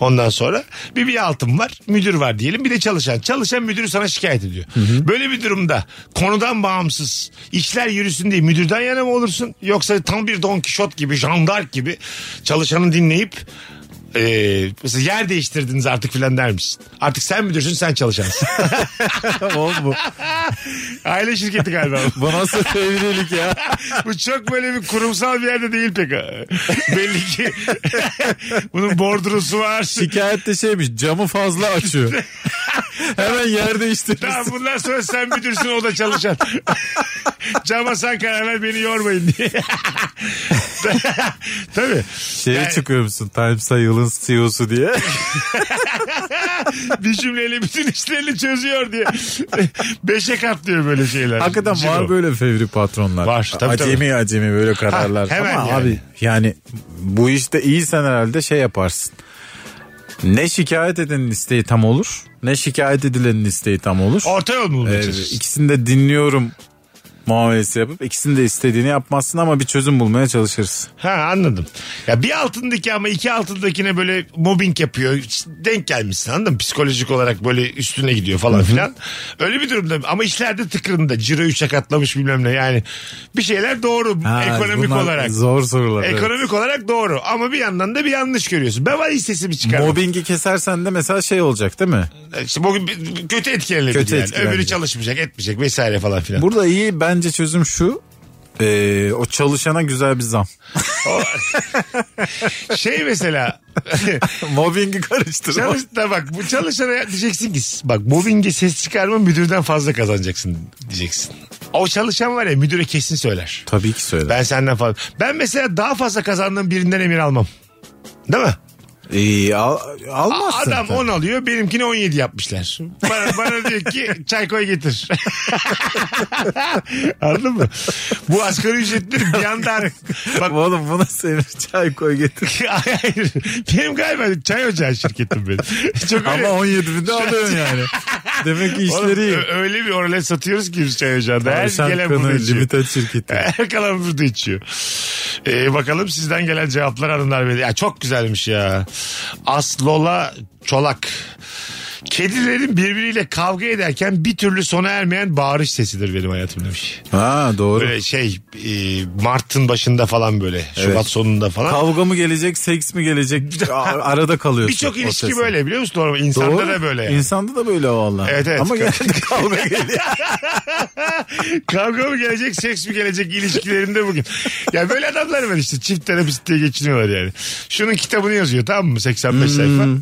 Speaker 2: Ondan sonra bir bir altın var, müdür var diyelim. Bir de çalışan. Çalışan müdürü sana şikayet ediyor. Böyle bir durumda konudan bağımsız işler yürüsün diye müdürden yana mı olursun? Yoksa tam bir Don Kişot gibi, jandark gibi çalışanı dinleyip e, mesela yer değiştirdiniz artık filan der misin? Artık sen müdürsün, sen çalışansın.
Speaker 3: Oğlum bu,
Speaker 2: Aile şirketi galiba.
Speaker 3: bu nasıl fevrilik ya?
Speaker 2: Bu çok böyle bir kurumsal bir yerde değil pek. ha. Belli ki bunun bordrosu var.
Speaker 3: Şikayette şeymiş camı fazla açıyor. Hemen yer
Speaker 2: Tamam
Speaker 3: değiştirirsin.
Speaker 2: bundan sonra sen müdürsün o da çalışan. Cama sen karar ver beni yormayın diye. Tabii.
Speaker 3: Şeye
Speaker 2: Yani-
Speaker 3: çıkıyor musun? Times'a yılın CEO'su E diye.
Speaker 2: Bir cümleyle bütün işlerini çözüyor diye. Beşe katlıyor böyle şeyler.
Speaker 3: Hakikaten
Speaker 2: Ciro.
Speaker 3: var böyle fevri patronlar.
Speaker 2: Var, tabii,
Speaker 3: acemi
Speaker 2: tabii.
Speaker 3: acemi böyle kararlar.
Speaker 2: Ha, hemen
Speaker 3: Ama
Speaker 2: yani.
Speaker 3: abi yani bu işte iyisen herhalde şey yaparsın. Ne şikayet edenin isteği tam olur ne şikayet edilenin isteği tam olur.
Speaker 2: Orta yol mu bulmaya
Speaker 3: Ee,
Speaker 2: çalışıyorsun?
Speaker 3: ikisini de dinliyorum muamelesi yapıp ikisini de istediğini yapmazsın ama bir çözüm bulmaya çalışırsın.
Speaker 2: Ha anladım. Ya bir altındaki ama iki altındakine böyle mobbing yapıyor. Denk gelmişsin anladın mı? Psikolojik olarak böyle üstüne gidiyor falan filan. Öyle bir durumda ama işlerde tıkırında. Ciro 3'e katlamış bilmem ne yani. Bir şeyler doğru
Speaker 3: Ha,
Speaker 2: ekonomik
Speaker 3: bunlar
Speaker 2: olarak.
Speaker 3: Zor sorular. evet.
Speaker 2: Ekonomik olarak doğru ama bir yandan da bir yanlış görüyorsun. Ben var hissesimi çıkardım.
Speaker 3: Mobbingi kesersen de mesela şey olacak değil mi?
Speaker 2: İşte bugün bir- kötü etkilenir
Speaker 3: Kötü
Speaker 2: yani.
Speaker 3: etkilenecek.
Speaker 2: Öbürü çalışmayacak etmeyecek vesaire falan filan.
Speaker 3: Burada iyi bence çözüm şu. ee, o çalışana güzel bir zam.
Speaker 2: şey mesela
Speaker 3: Mobbingi karıştırma.
Speaker 2: Çalış, da bak bu çalışana diyeceksin ki bak mobbinge ses çıkarma müdürden fazla kazanacaksın diyeceksin. O çalışan var ya müdüre kesin söyler.
Speaker 3: Tabii ki söyle.
Speaker 2: Ben senden fazla. Ben mesela daha fazla kazandığım birinden emir almam. Değil mi?
Speaker 3: İyi al, almazsın.
Speaker 2: Adam
Speaker 3: tabii.
Speaker 2: 10 alıyor benimkini 17 yapmışlar. Bana, bana diyor ki çay koy getir. Anladın mı? Bu asgari ücretleri bir yandan... Bak
Speaker 3: Oğlum buna senin çay koy getir.
Speaker 2: hayır. Benim galiba çay ocağı şirketim benim. Çok öyle-
Speaker 3: Ama 17 binde alıyorsun yani. Demek ki işleri iyi.
Speaker 2: Oğlum, ö- öyle bir orale satıyoruz ki biz çay ocağında. Her
Speaker 3: Tavşan
Speaker 2: gelen
Speaker 3: kanı,
Speaker 2: burada içiyor.
Speaker 3: limited şirketi.
Speaker 2: Her kalan burada içiyor. Ee, bakalım sizden gelen cevaplar hanımlar beyler. Ya çok güzelmiş ya. Aslola Çolak. Kedilerin birbiriyle kavga ederken bir türlü sona ermeyen bağırış sesidir benim hayatım demiş.
Speaker 3: Ha doğru.
Speaker 2: Böyle şey e, Mart'ın başında falan böyle. Şubat sonunda falan.
Speaker 3: Kavga mı gelecek, seks mi gelecek? A- Arada kalıyorsun.
Speaker 2: Birçok
Speaker 3: o
Speaker 2: ilişki
Speaker 3: sesin.
Speaker 2: böyle biliyor musun? Normal insanda
Speaker 3: Doğru.
Speaker 2: da böyle. yani.
Speaker 3: İnsanda da böyle valla.
Speaker 2: Evet, evet.
Speaker 3: Ama genelde kavga geliyor.
Speaker 2: Kavga mı gelecek, seks mi gelecek ilişkilerinde bugün. Ya böyle adamlar var işte çift terapist diye geçiniyorlar yani. Şunun kitabını yazıyor tamam mı 85 sayfa.
Speaker 3: Hmm.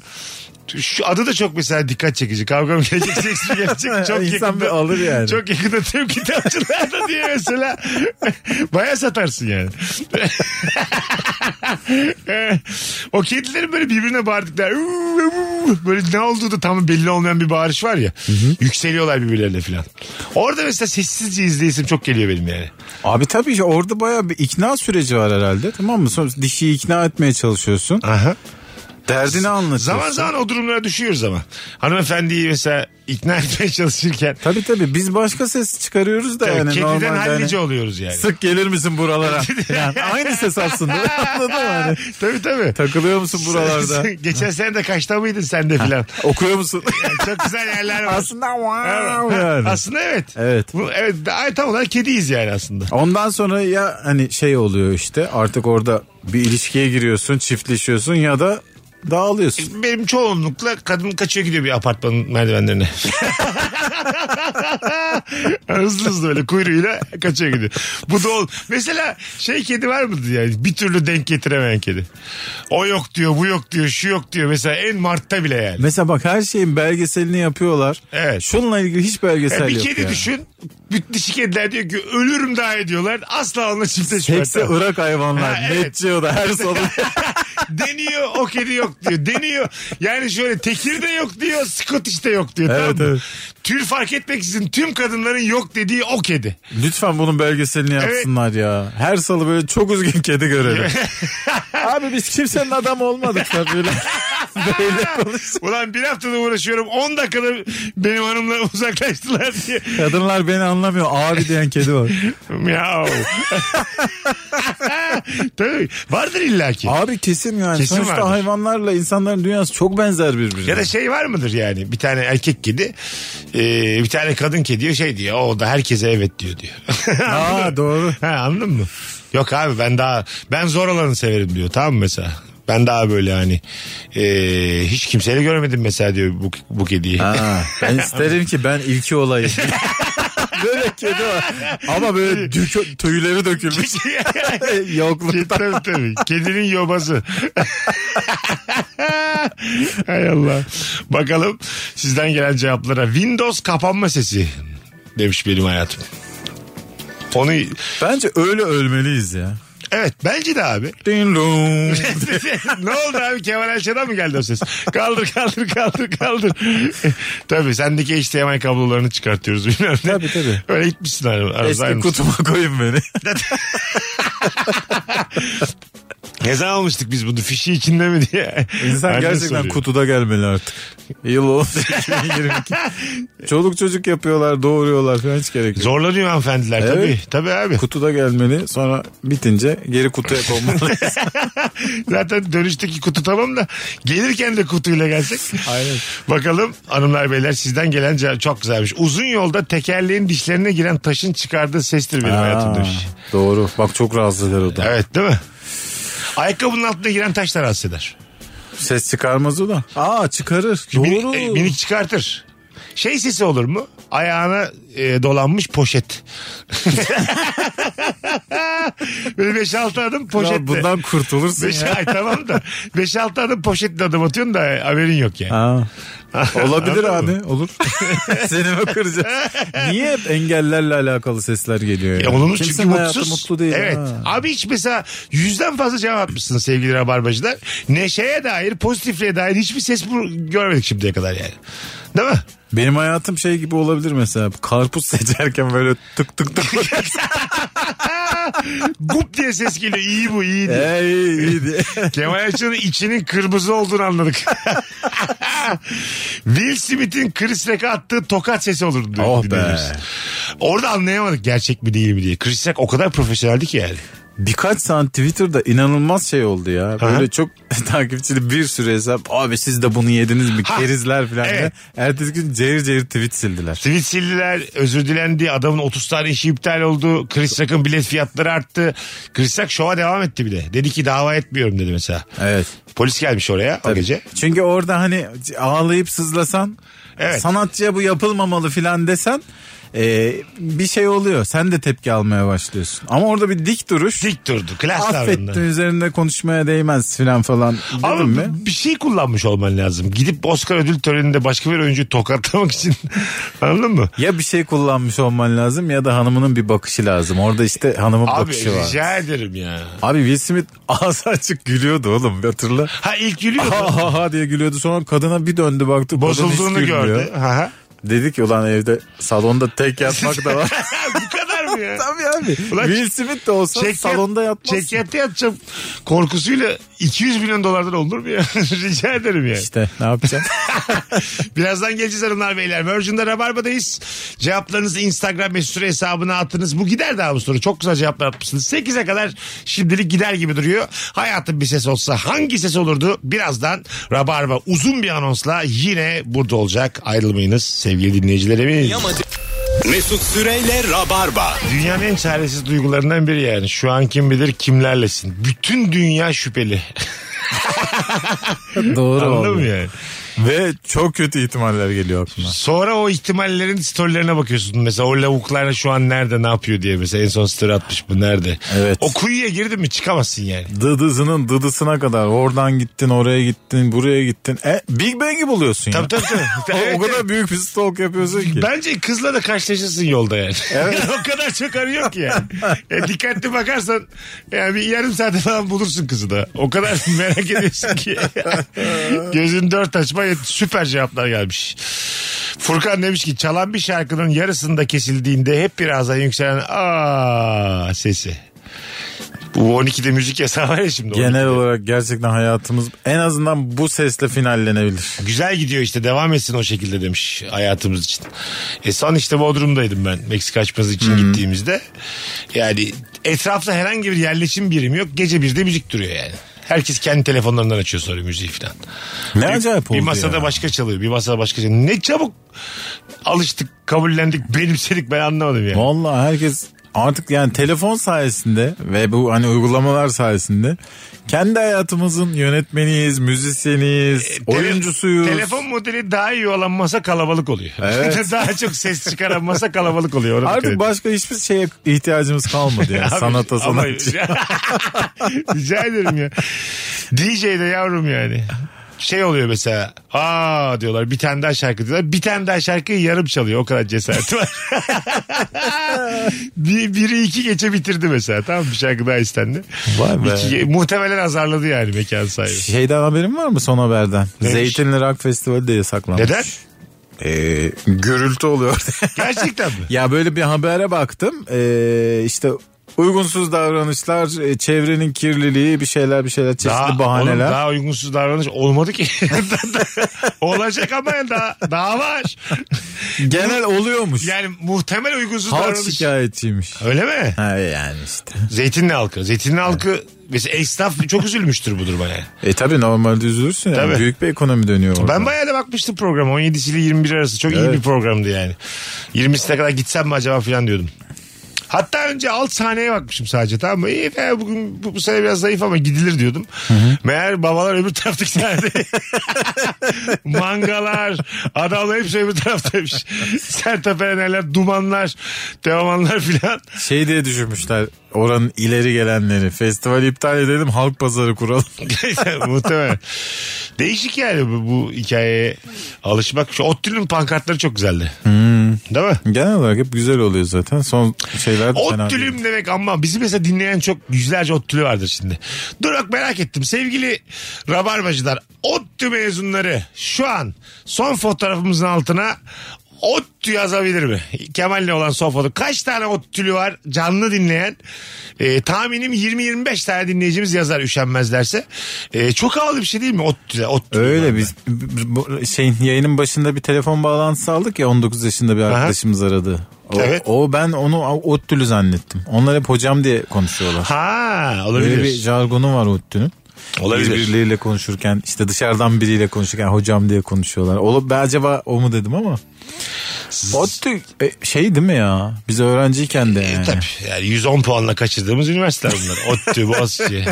Speaker 2: Şu adı da çok mesela dikkat çekici. Kavga mı gelecek, seks mi gelecek? Çok
Speaker 3: İnsan
Speaker 2: yakında,
Speaker 3: bir alır yani.
Speaker 2: Çok yakında tüm kitapçılarda diye mesela baya satarsın yani. o kedilerin böyle birbirine bağırdıkları böyle ne olduğu da tam belli olmayan bir bağırış var ya. Yükseliyorlar birbirlerine filan. Orada mesela sessizce izleyesim çok geliyor benim yani.
Speaker 3: Abi tabii orada bayağı bir ikna süreci var herhalde. Tamam mı? Sonra dişiyi ikna etmeye çalışıyorsun.
Speaker 2: Aha.
Speaker 3: Derdini anlatıyorsun.
Speaker 2: Zaman zaman o durumlara düşüyoruz ama. Hanımefendiyi mesela ikna etmeye çalışırken
Speaker 3: Tabii tabii biz başka ses çıkarıyoruz da yani normalde.
Speaker 2: kediden
Speaker 3: hani-
Speaker 2: hallice oluyoruz yani.
Speaker 3: Sık gelir misin buralara? Yani aynı ses aslında. Anladın mı? Hani
Speaker 2: tabii tabii.
Speaker 3: takılıyor musun buralarda?
Speaker 2: Geçen sene de kaçta mıydın sen de filan.
Speaker 3: Okuyor musun?
Speaker 2: Yani çok güzel yerler var.
Speaker 3: aslında
Speaker 2: Evet.
Speaker 3: wow yani.
Speaker 2: Aslında evet.
Speaker 3: Evet.
Speaker 2: Bu, evet daha tam olarak kediyiz yani aslında.
Speaker 3: Ondan sonra ya hani şey oluyor işte artık orada bir ilişkiye giriyorsun, çiftleşiyorsun ya da dağılıyorsun.
Speaker 2: E, Benim çoğunlukla kadın kaçıyor gidiyor bir apartmanın merdivenlerine. hızlı hızlı böyle kuyruğuyla kaçıyor gidiyor. Bu da ol. Mesela şey kedi var mıdır yani bir türlü denk getiremeyen kedi. O yok diyor bu yok diyor şu yok diyor. Mesela en Mart'ta bile yani.
Speaker 3: Mesela bak her şeyin belgeselini yapıyorlar.
Speaker 2: Evet.
Speaker 3: Şununla ilgili hiç belgesel
Speaker 2: Ya bir
Speaker 3: yok
Speaker 2: kedi
Speaker 3: ya.
Speaker 2: düşün. Bütün dişi kediler diyor ki ölürüm daha ediyorlar. Asla onunla çiftleşmiyor.
Speaker 3: Hepsi Irak hayvanlar.
Speaker 2: Ha,
Speaker 3: net
Speaker 2: evet.
Speaker 3: da her salı.
Speaker 2: Deniyor o kedi yok diyor. Deniyor. Yani şöyle tekir de yok diyor. Scottish de yok diyor.
Speaker 3: Evet,
Speaker 2: tamam mı?
Speaker 3: evet.
Speaker 2: Tül fark etmeksizin tüm kadınların yok dediği o kedi.
Speaker 3: Lütfen bunun belgeselini yapsınlar ya. Her salı böyle çok üzgün kedi görelim. Abi biz kimsenin adamı olmadık da böyle. böyle konuştuk.
Speaker 2: Ulan bir haftada uğraşıyorum 10 dakikada benim hanımla uzaklaştılar diye.
Speaker 3: Kadınlar beni anlamıyor. Abi diyen kedi var.
Speaker 2: Miau. Tabii vardır illaki.
Speaker 3: Abi kesin yani.
Speaker 2: Kesin
Speaker 3: Sonuçta
Speaker 2: vardır.
Speaker 3: hayvanlarla insanların dünyası çok benzer birbirine.
Speaker 2: Ya da şey var mıdır yani bir tane erkek kedi eee, bir tane kadın kedi diyor şey diyor o da herkese evet diyor diyor. Anladın mı?
Speaker 3: Aa, doğru.
Speaker 2: Ha, anladın mı? Yok abi ben daha ben zor olanı severim diyor tamam mı mesela? Ben daha böyle hani eee, hiç kimseyle görmedim mesela diyor bu, bu kediyi.
Speaker 3: Ha, ben isterim ki ben ilki olayım. böyle kedi var. Ama böyle dükö- tüyleri dökülmüş.
Speaker 2: şey- Ke-
Speaker 3: Yokluktan.
Speaker 2: tabii tabii. Kedinin yobası. Hay Allah. Bakalım sizden gelen cevaplara. Windows kapanma sesi demiş benim hayatım. Onu
Speaker 3: Bence öyle ölmeliyiz ya.
Speaker 2: evet bence de abi.
Speaker 3: Ding dong.
Speaker 2: ne oldu abi Kemal Ayşe'den mi geldi o ses? Kaldır kaldır kaldır kaldır. tabii sendeki HDMI kablolarını çıkartıyoruz bilmem ne.
Speaker 3: Tabii, tabii.
Speaker 2: Öyle gitmişsin ar- arada.
Speaker 3: Eski
Speaker 2: ayrılmışsın.
Speaker 3: kutuma koyun beni.
Speaker 2: Ne zaman almıştık biz bunu fişi içinde mi diye.
Speaker 3: İnsan
Speaker 2: Anne
Speaker 3: gerçekten
Speaker 2: soruyor.
Speaker 3: kutuda gelmeli artık. Yıl oldu 2022. Çoluk çocuk yapıyorlar, doğuruyorlar falan hiç gerek yok.
Speaker 2: Zorlanıyor hanımefendiler
Speaker 3: Evet.
Speaker 2: tabii. Tabii abi.
Speaker 3: Kutuda gelmeli sonra bitince geri kutuya konmalı.
Speaker 2: Zaten dönüşteki kutu tamam da gelirken de kutuyla gelsek.
Speaker 3: Aynen.
Speaker 2: Bakalım hanımlar beyler sizden gelen cevap çok güzelmiş. Uzun yolda tekerleğin dişlerine giren taşın çıkardığı sestir benim hayatım
Speaker 3: Aa,
Speaker 2: demiş.
Speaker 3: Doğru bak çok rahatsız eder o da.
Speaker 2: Evet değil mi? Ayakkabının altına giren taş da rahatsız eder.
Speaker 3: Ses çıkarmaz o da. Aa çıkarır.
Speaker 2: Minik-
Speaker 3: Doğru.
Speaker 2: e, minik çıkartır. Şey sesi olur mu? Ayağına e, dolanmış poşet. Böyle 5-6 adım
Speaker 3: Ya
Speaker 2: poşetle.
Speaker 3: bundan kurtulursun
Speaker 2: Beş,
Speaker 3: ya.
Speaker 2: ay, tamam da 5-6 adım poşetle adım atıyorsun da haberin yok yani.
Speaker 3: Ha. Olabilir
Speaker 2: Anladın
Speaker 3: abi olur. Seni mi kıracağız? Niye hep engellerle alakalı sesler geliyor?
Speaker 2: E
Speaker 3: Ya?
Speaker 2: olumlu
Speaker 3: Kimsenin
Speaker 2: çünkü
Speaker 3: hayatı
Speaker 2: mutsuz.
Speaker 3: mutlu değil.
Speaker 2: Evet.
Speaker 3: ha.
Speaker 2: Abi hiç mesela yüzden fazla cevap atmışsınız sevgili rabarbacılar. Neşeye dair, pozitifliğe dair hiçbir ses bu- görmedik şimdiye kadar yani. Değil mi?
Speaker 3: Benim hayatım şey gibi olabilir mesela. Karpuz seçerken böyle tık tık tık.
Speaker 2: Gup diye ses geliyor. İyi bu, iyi diye.
Speaker 3: Ey iyi diye.
Speaker 2: Kemal Ayça'nın içinin kırmızı olduğunu anladık. Will Smith'in Chris Rock'a attığı tokat sesi olurdu. diyor
Speaker 3: Oh be.
Speaker 2: dinleyicimiz. Orada anlayamadık gerçek mi değil mi diye. Chris Rock o kadar profesyoneldi ki yani.
Speaker 3: Birkaç saat Twitter'da inanılmaz şey oldu ya. Böyle
Speaker 2: Aha.
Speaker 3: çok takipçili bir sürü hesap. Abi siz de bunu yediniz mi?
Speaker 2: Ha,
Speaker 3: Kerizler falan. diye.
Speaker 2: evet.
Speaker 3: Ertesi gün cayır cayır tweet sildiler.
Speaker 2: Tweet sildiler, özür dilendi, adamın 30 tane işi iptal oldu, Chris Rock'ın bilet fiyatları arttı. Chris Rock şova devam etti bir de. Dedi ki dava etmiyorum dedi mesela.
Speaker 3: Evet.
Speaker 2: Polis gelmiş oraya o
Speaker 3: Tabii.
Speaker 2: gece.
Speaker 3: Çünkü orada hani ağlayıp sızlasan
Speaker 2: Evet.
Speaker 3: sanatçıya bu yapılmamalı filan desen e, bir şey oluyor. Sen de tepki almaya başlıyorsun. Ama orada bir dik duruş.
Speaker 2: Dik durdu, klas
Speaker 3: Affettim
Speaker 2: davrandı.
Speaker 3: üzerinde konuşmaya değmez filan falan dedim
Speaker 2: Ama
Speaker 3: mi?
Speaker 2: bir şey kullanmış olman lazım. Gidip Oscar ödül töreninde başka bir oyuncuyu tokatlamak için anladın mı?
Speaker 3: Ya bir şey kullanmış olman lazım ya da hanımının bir bakışı lazım. Orada işte hanımın
Speaker 2: Abi
Speaker 3: bakışı var.
Speaker 2: rica ederim ya.
Speaker 3: Abi Will Smith ağzı açık gülüyordu oğlum hatırla.
Speaker 2: Ha ilk gülüyordu.
Speaker 3: Ha ha ha diye gülüyordu sonra kadına bir döndü baktı. kadın Ah, hiç
Speaker 2: Bozulduğunu
Speaker 3: gülmüyor.
Speaker 2: gördü. Ha, ha.
Speaker 3: Dedi ki ulan evde salonda tek yatmak da var.
Speaker 2: Bu kadar mı ya?
Speaker 3: Tabii abi.
Speaker 2: Ulan
Speaker 3: Will Smith de olsa
Speaker 2: Çekyat-
Speaker 3: salonda yatmazsın.
Speaker 2: Çekyatta yatacağım korkusuyla 200 milyon dolardan olur mu ya? Rica ederim yani.
Speaker 3: İşte ne yapacaksın?
Speaker 2: Birazdan geleceğiz hanımlar beyler. Virgin'de Rabarba'dayız. Cevaplarınızı Instagram mesut Süre hesabına attınız. Bu gider daha bu soru. Çok güzel cevaplar atmışsınız. 8'e kadar şimdilik gider gibi duruyor. Hayatın bir ses olsa hangi ses olurdu? Birazdan Rabarba uzun bir anonsla yine burada olacak. Ayrılmayınız sevgili dinleyicilerimiz.
Speaker 1: Mesut Süreyle Rabarba.
Speaker 2: Dünyanın en çaresiz duygularından biri yani. Şu an kim bilir kimlerlesin. Bütün dünya şüpheli.
Speaker 3: Doğru
Speaker 2: Anladın mı yani?
Speaker 3: Ve çok kötü ihtimaller geliyor aklıma.
Speaker 2: Sonra o ihtimallerin storylerine bakıyorsun. Mesela o lavuklar şu an nerede ne yapıyor diye. Mesela en son story atmış bu nerede.
Speaker 3: Evet.
Speaker 2: O kuyuya girdin mi çıkamazsın yani.
Speaker 3: Dıdızının dıdısına kadar oradan gittin oraya gittin buraya gittin. E, Big Bang'i buluyorsun
Speaker 2: Tabii
Speaker 3: ya.
Speaker 2: tabii tabii.
Speaker 3: O-
Speaker 2: Evet,
Speaker 3: o kadar
Speaker 2: evet.
Speaker 3: büyük bir stalk yapıyorsun ki.
Speaker 2: Bence kızla da karşılaşırsın yolda yani. o kadar çok arıyor ki yani. E, dikkatli bakarsan yani bir yarım saate falan bulursun kızı da. O kadar merak ediyorsun ki. Gözün dört açma yet- süper cevaplar gelmiş. Furkan demiş ki çalan bir şarkının yarısında kesildiğinde hep birazdan yükselen aa sesi. Bu 12'de müzik yasağı var ya şimdi.
Speaker 3: Genel olarak gerçekten hayatımız en azından bu sesle finallenebilir.
Speaker 2: Güzel gidiyor işte devam etsin o şekilde demiş hayatımız için. E son işte Bodrum'daydım ben Meksika açması için gittiğimizde. Yani etrafta herhangi bir yerleşim birimi yok. Gece birde müzik duruyor yani. Herkes kendi telefonlarından açıyor sonra müziği falan.
Speaker 3: Ne
Speaker 2: Bir-
Speaker 3: acayip oldu
Speaker 2: Bir masada
Speaker 3: ya.
Speaker 2: başka çalıyor bir masada başka çalıyor. Ne çabuk alıştık kabullendik benimsedik ben anlamadım yani.
Speaker 3: Vallahi herkes artık yani telefon sayesinde ve bu hani uygulamalar sayesinde kendi hayatımızın yönetmeniyiz, müzisyeniyiz,
Speaker 2: E, Tele-
Speaker 3: oyuncusuyuz.
Speaker 2: Telefon modeli daha iyi olan masa kalabalık oluyor.
Speaker 3: Evet.
Speaker 2: daha çok ses çıkaran masa kalabalık oluyor. Ona dikkat edin.
Speaker 3: Artık başka hiçbir şeye ihtiyacımız kalmadı yani
Speaker 2: Abi,
Speaker 3: sanata
Speaker 2: ama-
Speaker 3: sanatçı.
Speaker 2: Rica ederim ya. DJ'de yavrum yani. Şey oluyor mesela. Aa diyorlar bir tane daha şarkı diyorlar. Bir tane daha şarkıyı yarım çalıyor. O kadar cesareti var. bir, biri iki gece bitirdi mesela. Tamam mı? bir şarkı daha istendi.
Speaker 3: Vay be. Şey
Speaker 2: İki ge- muhtemelen azarladı yani mekan sahibi.
Speaker 3: Şeyden haberin var mı son haberden?
Speaker 2: Neymiş?
Speaker 3: Zeytinli Rock Festivali de yasaklanmış.
Speaker 2: Neden?
Speaker 3: Ee, gürültü oluyor.
Speaker 2: Gerçekten mi?
Speaker 3: ya böyle bir habere baktım. Ee, işte uygunsuz davranışlar, e, çevrenin kirliliği bir şeyler bir şeyler çeşitli
Speaker 2: Daha,
Speaker 3: bahaneler.
Speaker 2: oğlum daha uygunsuz davranış olmadı ki. Olacak ama ya daha, daha var.
Speaker 3: Genel oluyormuş.
Speaker 2: Yani muhtemel uygunsuz
Speaker 3: Halk
Speaker 2: davranış.
Speaker 3: şikayetçiymiş.
Speaker 2: Öyle mi?
Speaker 3: Ha yani işte.
Speaker 2: Zeytinli halkı. Zeytinli halkı mesela esnaf çok üzülmüştür bu duruma yani.
Speaker 3: E tabi normalde üzülürsün yani.
Speaker 2: Tabii.
Speaker 3: Büyük bir ekonomi dönüyor orada.
Speaker 2: Ben bayağı da bakmıştım programa. 17'si ile 21 arası. Çok iyi
Speaker 3: Evet.
Speaker 2: bir programdı yani. 20'sine kadar gitsem mi acaba falan diyordum. Hatta önce alt sahneye bakmışım sadece tamam mı? İyi be, bugün bu, bu sene biraz zayıf ama gidilir diyordum. Meğer babalar öbür taraftaki sahnede. Mangalar, adamlar hepsi öbür taraftaymış. Sertapereneler, dumanlar, devamanlar filan.
Speaker 3: Şey diye düşünmüşler oranın ileri gelenleri. Festival iptal edelim halk pazarı kuralım.
Speaker 2: Muhtemelen. Değişik yani bu, bu hikayeye alışmak. Şu Ottül'ün pankartları çok güzeldi. Değil mi?
Speaker 3: Genel olarak hep güzel oluyor zaten. Son şeyler de fena değil.
Speaker 2: Ottül'üm demek ama bizi mesela dinleyen çok yüzlerce Ottül'ü vardır şimdi. Dur bak merak ettim. Sevgili Rabarbacılar Ottü mezunları şu an son fotoğrafımızın altına Ottü yazabilir mi? Kemal'le olan son fotoğraf. Kaç tane Ottülü var canlı dinleyen? Ee, tahminim 20-25 tane dinleyicimiz yazar üşenmezlerse. Ee, çok havalı bir şey değil mi Ottü'de? Ottülü
Speaker 3: Öyle
Speaker 2: var.
Speaker 3: biz bu- şeyin yayının başında bir telefon bağlantısı aldık ya 19 yaşında bir arkadaşımız aradı. O,
Speaker 2: Evet.
Speaker 3: o ben onu Ottülü zannettim. Onlar hep hocam diye konuşuyorlar.
Speaker 2: Ha olabilir.
Speaker 3: Böyle bir jargonu var Ottü'nün.
Speaker 2: Olabilir.
Speaker 3: Birbirleriyle konuşurken işte dışarıdan biriyle konuşurken hocam diye konuşuyorlar. Olup ben acaba o mu dedim ama. Ottü e, şey değil mi ya? Biz öğrenciyken de
Speaker 2: E,
Speaker 3: yani.
Speaker 2: tabii yani 110 puanla kaçırdığımız üniversiteler bunlar. ODTÜ, Boğaziçi.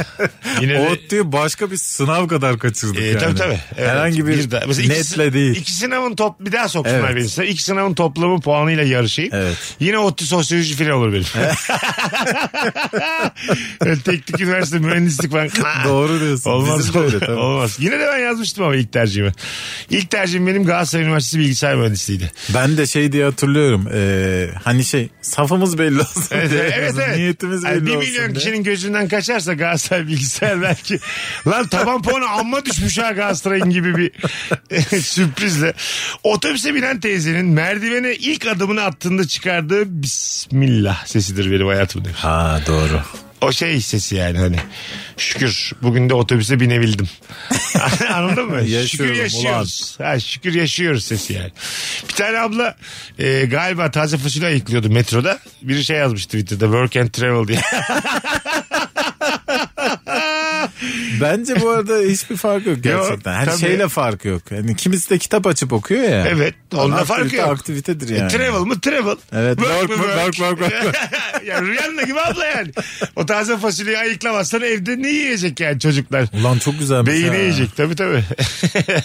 Speaker 2: Yine de,
Speaker 3: Ottü'yü başka bir sınav kadar kaçırdık
Speaker 2: E,
Speaker 3: yani.
Speaker 2: Tabii tabii. Evet.
Speaker 3: Herhangi bir,
Speaker 2: daha- mesela
Speaker 3: netle
Speaker 2: iki,
Speaker 3: değil.
Speaker 2: İki sınavın top bir daha soksunlar
Speaker 3: Evet.
Speaker 2: beni size. İki sınavın toplamı puanıyla yarışayım.
Speaker 3: Evet.
Speaker 2: Yine ODTÜ sosyoloji falan olur benim. Öyle Teknik üniversite mühendislik falan.
Speaker 3: Doğru diyorsun.
Speaker 2: Olmaz.
Speaker 3: Bizim de öyle, tabii.
Speaker 2: Olmaz. Yine de ben yazmıştım ama ilk tercihimi. İlk tercihim benim Galatasaray Üniversitesi bilgisayar mühendisliğiydi.
Speaker 3: Ben de şey diye hatırlıyorum. Ee, hani şey safımız belli olsun
Speaker 2: Evet
Speaker 3: diye.
Speaker 2: evet. evet.
Speaker 3: Niyetimiz belli
Speaker 2: Yani bir
Speaker 3: olsun
Speaker 2: milyon
Speaker 3: diye.
Speaker 2: kişinin gözünden kaçarsa Galatasaray bilgisayar belki. Lan taban puanı amma düşmüş ha Galatasaray'ın gibi bir sürprizle. Otobüse binen teyzenin merdivene ilk adımını attığında çıkardığı Bismillah sesidir benim hayatım demiş.
Speaker 3: Ha doğru.
Speaker 2: O şey sesi yani hani. Şükür bugün de otobüse binebildim. Anladın mı? şükür
Speaker 3: Yaşıyorum,
Speaker 2: yaşıyoruz. Ha, şükür yaşıyoruz sesi yani. Bir tane abla e, galiba taze fasulye ayıklıyordu metroda. Biri şey yazmış Twitter'da work and travel diye.
Speaker 3: Bence bu arada hiçbir fark yok gerçekten. Her
Speaker 2: tabii.
Speaker 3: şeyle fark yok. Yani kimisi de kitap açıp okuyor ya.
Speaker 2: Evet, onunla
Speaker 3: Aktivite
Speaker 2: fark yok.
Speaker 3: Aktivitedir yani.
Speaker 2: E, travel mı travel.
Speaker 3: Evet, work
Speaker 2: mı
Speaker 3: mı work, work, work,
Speaker 2: ya rüyanda gibi abla yani. O taze fasulyeyi ayıklamazsan evde ne yiyecek yani çocuklar?
Speaker 3: Ulan çok güzelmiş.
Speaker 2: Beyni
Speaker 3: ha.
Speaker 2: yiyecek tabii tabii.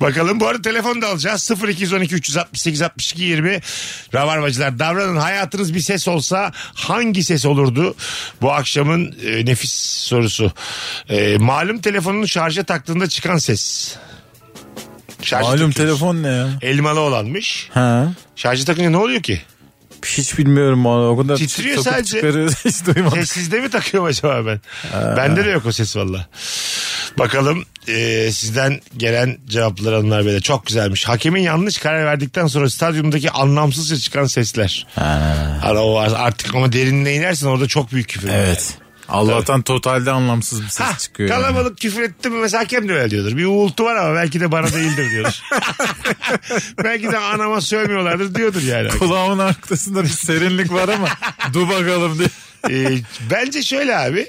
Speaker 2: Bakalım bu arada telefon da alacağız. 0212 368 62 20 Rabarbacılar davranın. Hayatınız bir ses olsa hangi ses olurdu? Bu akşamın e, nefis sorusu. E, malum telefonunu şarja taktığında çıkan ses. Şarja
Speaker 3: Malum
Speaker 2: takıyoruz.
Speaker 3: telefon ne ya?
Speaker 2: Elmalı olanmış.
Speaker 3: Ha.
Speaker 2: Şarja takınca ne oluyor ki?
Speaker 3: Hiç bilmiyorum valla. O kadar
Speaker 2: Titriyor
Speaker 3: sokup
Speaker 2: sadece.
Speaker 3: çıkarıyor. Hiç duymadım.
Speaker 2: Sessizde mi takıyorum acaba ben? Bende de yok o ses valla. Bakalım e, sizden gelen cevaplar hanımlar böyle çok güzelmiş. Hakemin yanlış karar verdikten sonra stadyumdaki anlamsızca çıkan sesler. Hani o artık ama derinine inersin orada çok büyük küfür. var yani.
Speaker 3: Evet. Allah'tan totalde anlamsız bir ses
Speaker 2: Hah,
Speaker 3: çıkıyor. yani.
Speaker 2: kalabalık küfür etti mi mesela hakem de öyle diyordur. Bir uğultu var ama belki de bana değildir diyordur. belki de anama sövmüyorlardır diyordur yani.
Speaker 3: Kulağımın arkasında bir serinlik var ama dur bakalım diye.
Speaker 2: Ee, bence şöyle abi.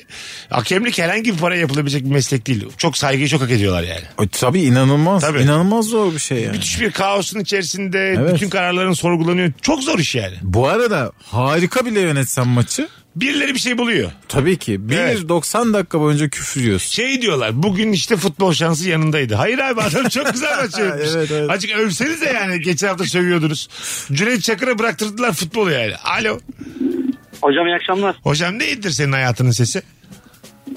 Speaker 2: Hakemlik herhangi bir para yapılabilecek bir meslek değil. Çok saygıyı çok hak ediyorlar yani.
Speaker 3: O, tabii inanılmaz.
Speaker 2: Tabii.
Speaker 3: İnanılmaz zor bir şey yani.
Speaker 2: Müthiş bir kaosun içerisinde
Speaker 3: Evet.
Speaker 2: bütün kararların sorgulanıyor. Çok zor iş yani.
Speaker 3: Bu arada harika bile yönetsen maçı.
Speaker 2: Birileri bir şey buluyor.
Speaker 3: Tabii ki. Bir
Speaker 2: Evet.
Speaker 3: 90 dakika boyunca küfür yiyorsun.
Speaker 2: Şey diyorlar bugün işte futbol şansı yanındaydı. Hayır abi adam çok güzel maç yönetmiş.
Speaker 3: Evet, evet.
Speaker 2: Açık övseniz de yani geçen hafta sövüyordunuz. Cüneyt Çakır'a bıraktırdılar futbolu yani. Alo.
Speaker 9: Hocam iyi akşamlar.
Speaker 2: Hocam neydir senin hayatının sesi?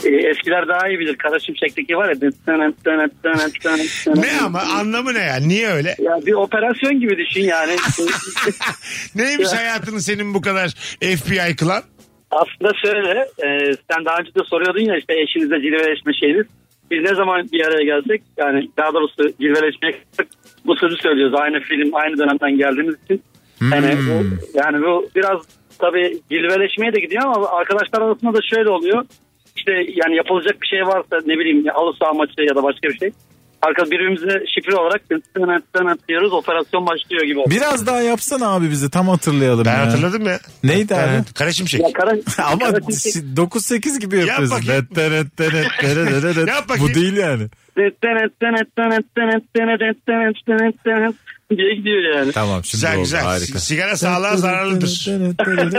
Speaker 9: Ee, eskiler daha iyi bilir. Kara Şimşek'teki var ya. dıt dönüp dönüp dönüp dönüp dönüp.
Speaker 2: Ne ama anlamı ne yani? Niye öyle?
Speaker 9: Ya bir operasyon gibi düşün yani.
Speaker 2: Neymiş hayatını senin bu kadar FBI kılan?
Speaker 9: Aslında şöyle, e, sen daha önce de soruyordun ya işte eşinizle cilveleşme şeyiniz. Biz ne zaman bir araya gelsek yani daha doğrusu cilveleşmeye kalksak bu sözü söylüyoruz. Aynı film aynı dönemden geldiğimiz için. Yani, bu, yani bu biraz tabii cilveleşmeye de gidiyor ama arkadaşlar arasında da şöyle oluyor. İşte yani yapılacak bir şey varsa ne bileyim ya halı saha maçı ya da başka bir şey. Arka birbirimize şifre olarak tınat tınat diyoruz operasyon başlıyor gibi oluyor.
Speaker 3: Biraz daha yapsana abi bizi tam hatırlayalım.
Speaker 2: Ben
Speaker 3: ya.
Speaker 2: hatırladım ya.
Speaker 3: Neydi abi?
Speaker 2: Evet, Kara Şimşek.
Speaker 9: Ya kara,
Speaker 3: Ama
Speaker 9: kara çiçek-
Speaker 3: şi- 9-8 gibi yapıyorsun.
Speaker 2: bakayım.
Speaker 3: Det, det, det, det, det, det, det, det.
Speaker 2: Yap bakayım.
Speaker 3: Bu değil yani.
Speaker 9: diye gidiyor yani.
Speaker 3: Tamam şimdi
Speaker 2: Güzel
Speaker 3: oldu
Speaker 2: güzel.
Speaker 3: harika.
Speaker 2: Sigara sağlığa zararlıdır.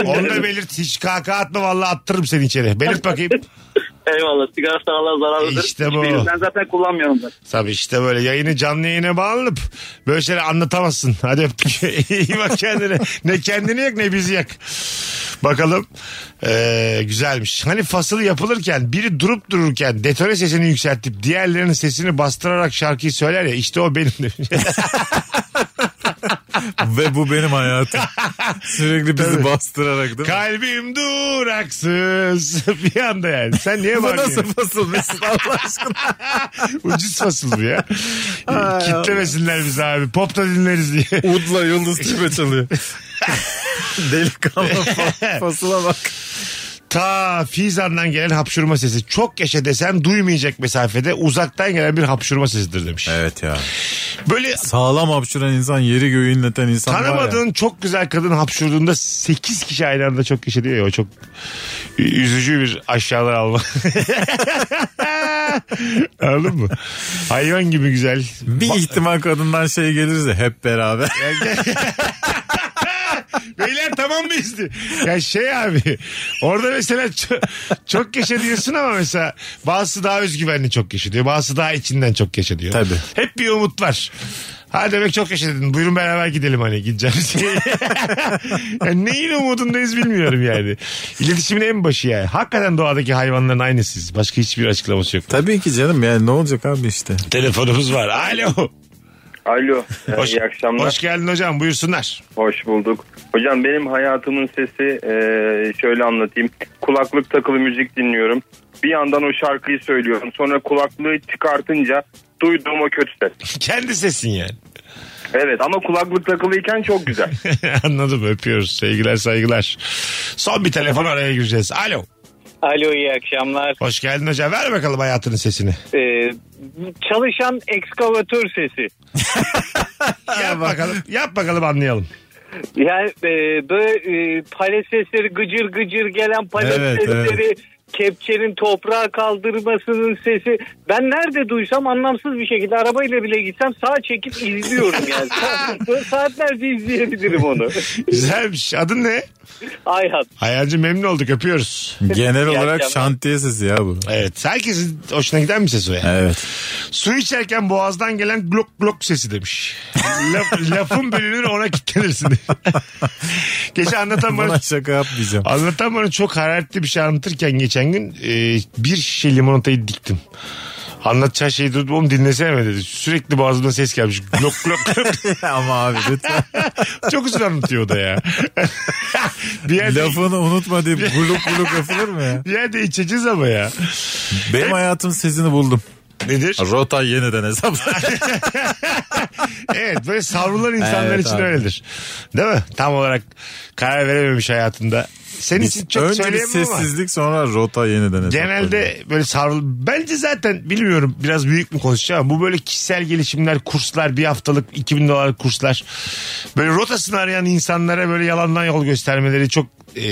Speaker 2: Onu da belirt. Hiç kahkaha atma vallahi attırırım seni içeri. Belirt bakayım.
Speaker 9: Eyvallah sigara sağlığa zararlıdır.
Speaker 2: İşte bu.
Speaker 9: Hiçbirini Ben zaten kullanmıyorum ben.
Speaker 2: Tabii işte böyle yayını canlı yayına bağlanıp böyle şeyler anlatamazsın. Hadi öptük. İyi bak kendine. Ne kendini yak ne bizi yak. Bakalım. Ee, güzelmiş. Hani fasıl yapılırken biri durup dururken detone sesini yükseltip diğerlerinin sesini bastırarak şarkıyı söyler ya işte o benim demiş.
Speaker 3: Ve bu benim hayatım. Sürekli bizi bastırarak değil mi?
Speaker 2: Kalbim duraksız bir anda yani. Sen niye
Speaker 3: Bu
Speaker 2: bağırıyorsun?
Speaker 3: nasıl fasıl Mesut Allah aşkına?
Speaker 2: Ucuz fasıl bu ya. Kitlemesinler bizi abi. Pop da dinleriz diye.
Speaker 3: Udla yıldız tüpe çalıyor. Delikanlı fa- fasıla bak.
Speaker 2: Ta Fizan'dan gelen hapşurma sesi. Çok yaşa desen duymayacak mesafede uzaktan gelen bir hapşurma sesidir demiş.
Speaker 3: Evet ya.
Speaker 2: Böyle
Speaker 3: Sağlam hapşuran insan yeri göğü inleten insan var ya.
Speaker 2: tanımadığın çok güzel kadın hapşurduğunda 8 kişi aynı anda çok kişi diyor ya. O çok ü- üzücü bir aşağılar alma. Anladın mı? Hayvan gibi güzel.
Speaker 3: Bir ihtimal kadından şey gelirse hep beraber.
Speaker 2: Beyler tamam mı izdi? Ya şey abi orada mesela çok, çok yaşa diyorsun ama mesela bazısı daha özgüvenli çok yaşa diyor. Bazısı daha içinden çok yaşa diyor.
Speaker 3: Tabii.
Speaker 2: Hep bir umut var. Ha demek çok yaşa dedin. Buyurun beraber gidelim hani gideceğiz. yani neyin umudundayız bilmiyorum yani. İletişimin en başı yani. Hakikaten doğadaki hayvanların aynısıyız. Başka hiçbir açıklaması yok.
Speaker 3: Tabii ki canım yani ne olacak abi işte.
Speaker 2: Telefonumuz var. Alo.
Speaker 4: Alo, E,
Speaker 2: Hoş-
Speaker 4: iyi akşamlar.
Speaker 2: Hoş geldin hocam buyursunlar.
Speaker 4: Hoş bulduk. Hocam benim hayatımın sesi e, şöyle anlatayım. Kulaklık takılı müzik dinliyorum. Bir yandan o şarkıyı söylüyorum. Sonra kulaklığı çıkartınca duyduğum o kötü ses.
Speaker 2: Kendi sesin yani.
Speaker 4: Evet ama kulaklık takılıyken çok güzel.
Speaker 2: Anladım öpüyoruz. Sevgiler saygılar. Son bir telefon araya gireceğiz. Alo.
Speaker 9: Alo iyi akşamlar.
Speaker 2: Hoş geldin hocam. Ver bakalım hayatının sesini.
Speaker 9: Ee, çalışan ekskavatör sesi.
Speaker 2: Yap bakalım. Yap bakalım anlayalım.
Speaker 9: Yani e, böyle e, palet sesleri gıcır gıcır gelen palet
Speaker 3: Evet,
Speaker 9: sesleri
Speaker 4: kepçenin toprağa kaldırmasının sesi. Ben nerede duysam anlamsız bir şekilde arabayla bile gitsem sağa çekip izliyorum yani. Saatlerce izleyebilirim onu.
Speaker 2: Güzelmiş. Adın ne?
Speaker 4: Ayhan.
Speaker 2: Hayalci memnun olduk öpüyoruz.
Speaker 3: Genel olarak şantiye sesi ya bu.
Speaker 2: Evet. Herkesin hoşuna giden bir ses o yani.
Speaker 3: Evet.
Speaker 2: Su içerken boğazdan gelen glok glok sesi demiş. Laf, lafın bölünür ona kitlenirsin. Geçen anlatan bana
Speaker 3: Buna şaka yapmayacağım.
Speaker 2: Anlatan bana çok hararetli bir şey anlatırken geçen gün e, bir şişe limonatayı diktim. Anlatacağı şeyi duydum oğlum dinlesene mi dedi. Sürekli boğazımdan ses gelmiş. Glok glok glok.
Speaker 3: Ama abi lütfen.
Speaker 2: çok uzun anlatıyor o da ya. bir yerde,
Speaker 3: Lafını unutma diye buluk buluk yapılır mı ya?
Speaker 2: bir yerde içeceğiz ama ya.
Speaker 3: Benim hayatım sesini buldum.
Speaker 2: Nedir?
Speaker 3: Rota yeniden hesaplar.
Speaker 2: Evet böyle savrulan insanlar
Speaker 3: Evet
Speaker 2: için
Speaker 3: abi.
Speaker 2: öyledir. Değil mi? Tam olarak karar verememiş hayatında. Senin için Hani çok
Speaker 3: Önce bir
Speaker 2: söyleyemem ama.
Speaker 3: sessizlik sonra rota yeniden hesaplar.
Speaker 2: Genelde böyle savrul... Bence zaten bilmiyorum biraz büyük mü konuşacağım ama bu böyle kişisel gelişimler, kurslar, bir haftalık 2000 dolar kurslar. Böyle rotasını arayan insanlara böyle yalandan yol göstermeleri çok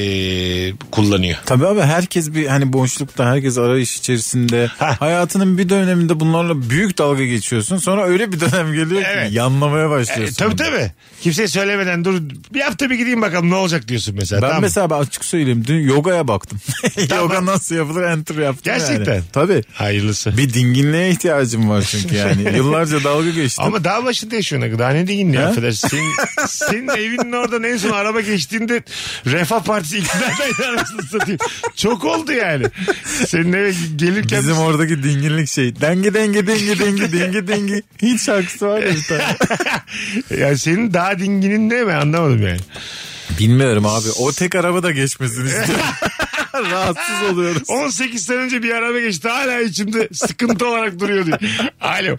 Speaker 2: eee, kullanıyor.
Speaker 3: Tabii abi herkes bir hani boşlukta herkes arayış içerisinde hayatının bir döneminde bunlarla büyük dalga geçiyorsun. Sonra öyle bir dönem geliyor
Speaker 2: Evet.
Speaker 3: ki yanlamaya
Speaker 2: E,
Speaker 3: başlıyorsun.
Speaker 2: tabii tabii. Kimseye söylemeden dur bir hafta bir gideyim bakalım ne olacak diyorsun mesela.
Speaker 3: Ben
Speaker 2: Tamam.
Speaker 3: mesela ben açık söyleyeyim dün yogaya baktım. Yoga nasıl yapılır enter yaptım
Speaker 2: Gerçekten.
Speaker 3: yani. Tabii.
Speaker 2: Hayırlısı.
Speaker 3: Bir dinginliğe ihtiyacım var çünkü yani. Yıllarca dalga geçtim.
Speaker 2: Ama dağ başında yaşıyorsun. Aga. Daha ne Hani diyeyim ya
Speaker 3: Ha?
Speaker 2: affedersin. Senin, senin evinin oradan en son araba geçtiğinde Refah Partisi iktidarda arasını satayım. Çok oldu yani. Senin eve gelirken...
Speaker 3: Bizim oradaki dinginlik şey. Dengi dengi dengi dengi dengi dengi. Hiç şarkısı var ya bir tane.
Speaker 2: Yani senin daha dinginin ne mi anlamadım yani.
Speaker 3: Bilmiyorum abi. O tek araba da geçmesin istiyorum. Rahatsız oluyoruz.
Speaker 2: 18 sene önce bir araba geçti hala içimde sıkıntı olarak duruyor diyor. Alo.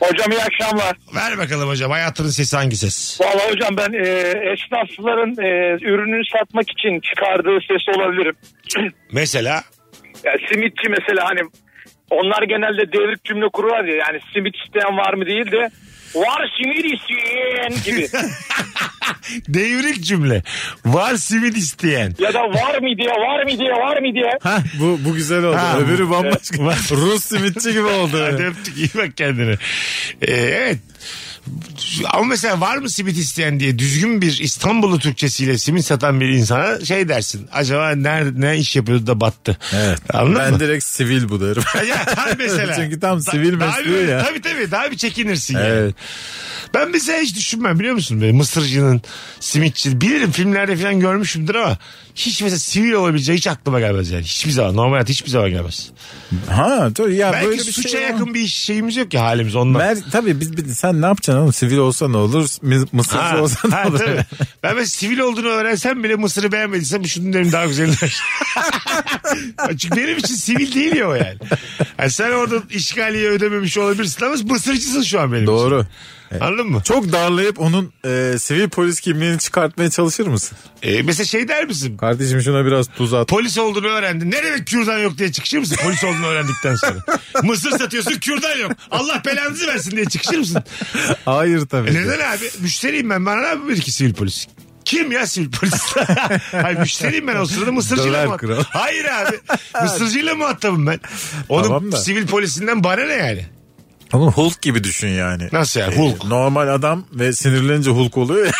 Speaker 4: Hocam iyi akşamlar.
Speaker 2: Ver bakalım hocam hayatının sesi hangi ses?
Speaker 4: Valla hocam ben e, esnafların e, ürününü satmak için çıkardığı ses olabilirim.
Speaker 2: Mesela
Speaker 4: Ya simitçi mesela hani onlar genelde devrik cümle kurular ya yani simit isteyen var mı değil de var simit isteyen gibi
Speaker 2: devrik cümle. Var sivil isteyen.
Speaker 4: ya da var mı diye var mı diye var mı diye.
Speaker 3: Ha, bu, bu güzel oldu.
Speaker 2: Ha,
Speaker 3: Öbürü bambaşka. Rus simitçi gibi
Speaker 2: Hadi
Speaker 3: oldu.
Speaker 2: öptük iyi bak kendine. Ee, evet. Ama mesela var mı simit isteyen diye düzgün bir İstanbul'u Türkçesiyle simit satan bir insana şey dersin. Acaba nerede ne iş yapıyordu da battı.
Speaker 3: Evet.
Speaker 2: Anladın
Speaker 3: ben
Speaker 2: mı?
Speaker 3: direkt sivil bu derim.
Speaker 2: Ya, ha, mesela.
Speaker 3: Çünkü tam sivil
Speaker 2: daha
Speaker 3: mesleği
Speaker 2: bir-
Speaker 3: ya.
Speaker 2: Tabii tabii daha bir çekinirsin yani.
Speaker 3: Evet.
Speaker 2: Ben mesela hiç düşünmem biliyor musun? Böyle mısırcının, simitçi bilirim filmlerde falan görmüşümdür ama hiç mesela sivil olabileceği hiç aklıma gelmez yani. Hiçbir zaman normal hayat hiçbir zaman gelmez.
Speaker 3: Ha, dur ya
Speaker 2: Belki
Speaker 3: böyle bir
Speaker 2: suça
Speaker 3: şey.
Speaker 2: yakın bir şeyimiz yok ki halimiz ondan.
Speaker 3: Mer, tabii biz, biz- sen ne yapacaksın oğlum? Sivil olsa ne olur? Mis- Mısırcı
Speaker 2: Ha,
Speaker 3: olsa
Speaker 2: ha,
Speaker 3: ne olur?
Speaker 2: tabii. ben mesela sivil olduğunu öğrensem bile Mısır'ı beğenmediysem şunun derim daha güzel. Çünkü benim için sivil değil ya o yani. Yani sen orada işgaliye ödememiş olabilirsin ama Mısırcısın şu an benim
Speaker 3: Doğru.
Speaker 2: için. Anladın mı?
Speaker 3: Çok darlayıp onun e, sivil polis kimliğini çıkartmaya çalışır mısın?
Speaker 2: Ee, mesela şey der misin?
Speaker 3: Kardeşim şuna biraz tuz at.
Speaker 2: Polis olduğunu öğrendin. Ne demek kürdan yok diye çıkışır mısın? Polis olduğunu öğrendikten sonra. Mısır satıyorsun kürdan yok. Allah belanızı versin diye çıkışır mısın?
Speaker 3: Hayır tabii.
Speaker 2: E
Speaker 3: ki.
Speaker 2: Neden abi? Müşteriyim ben. Bana ne yapabilir ki sivil polis? Kim ya sivil polis? Hayır müşteriyim ben o sırada mısırcıyla
Speaker 3: Döver
Speaker 2: mı?
Speaker 3: kral.
Speaker 2: Hayır abi. Mısırcıyla muhatabım ben. Onun
Speaker 3: Tamam da.
Speaker 2: sivil polisinden bana ne yani?
Speaker 3: Oğlum Hulk gibi düşün yani.
Speaker 2: Nasıl yani?
Speaker 3: E,
Speaker 2: Hulk.
Speaker 3: normal adam ve sinirlenince Hulk oluyor ya.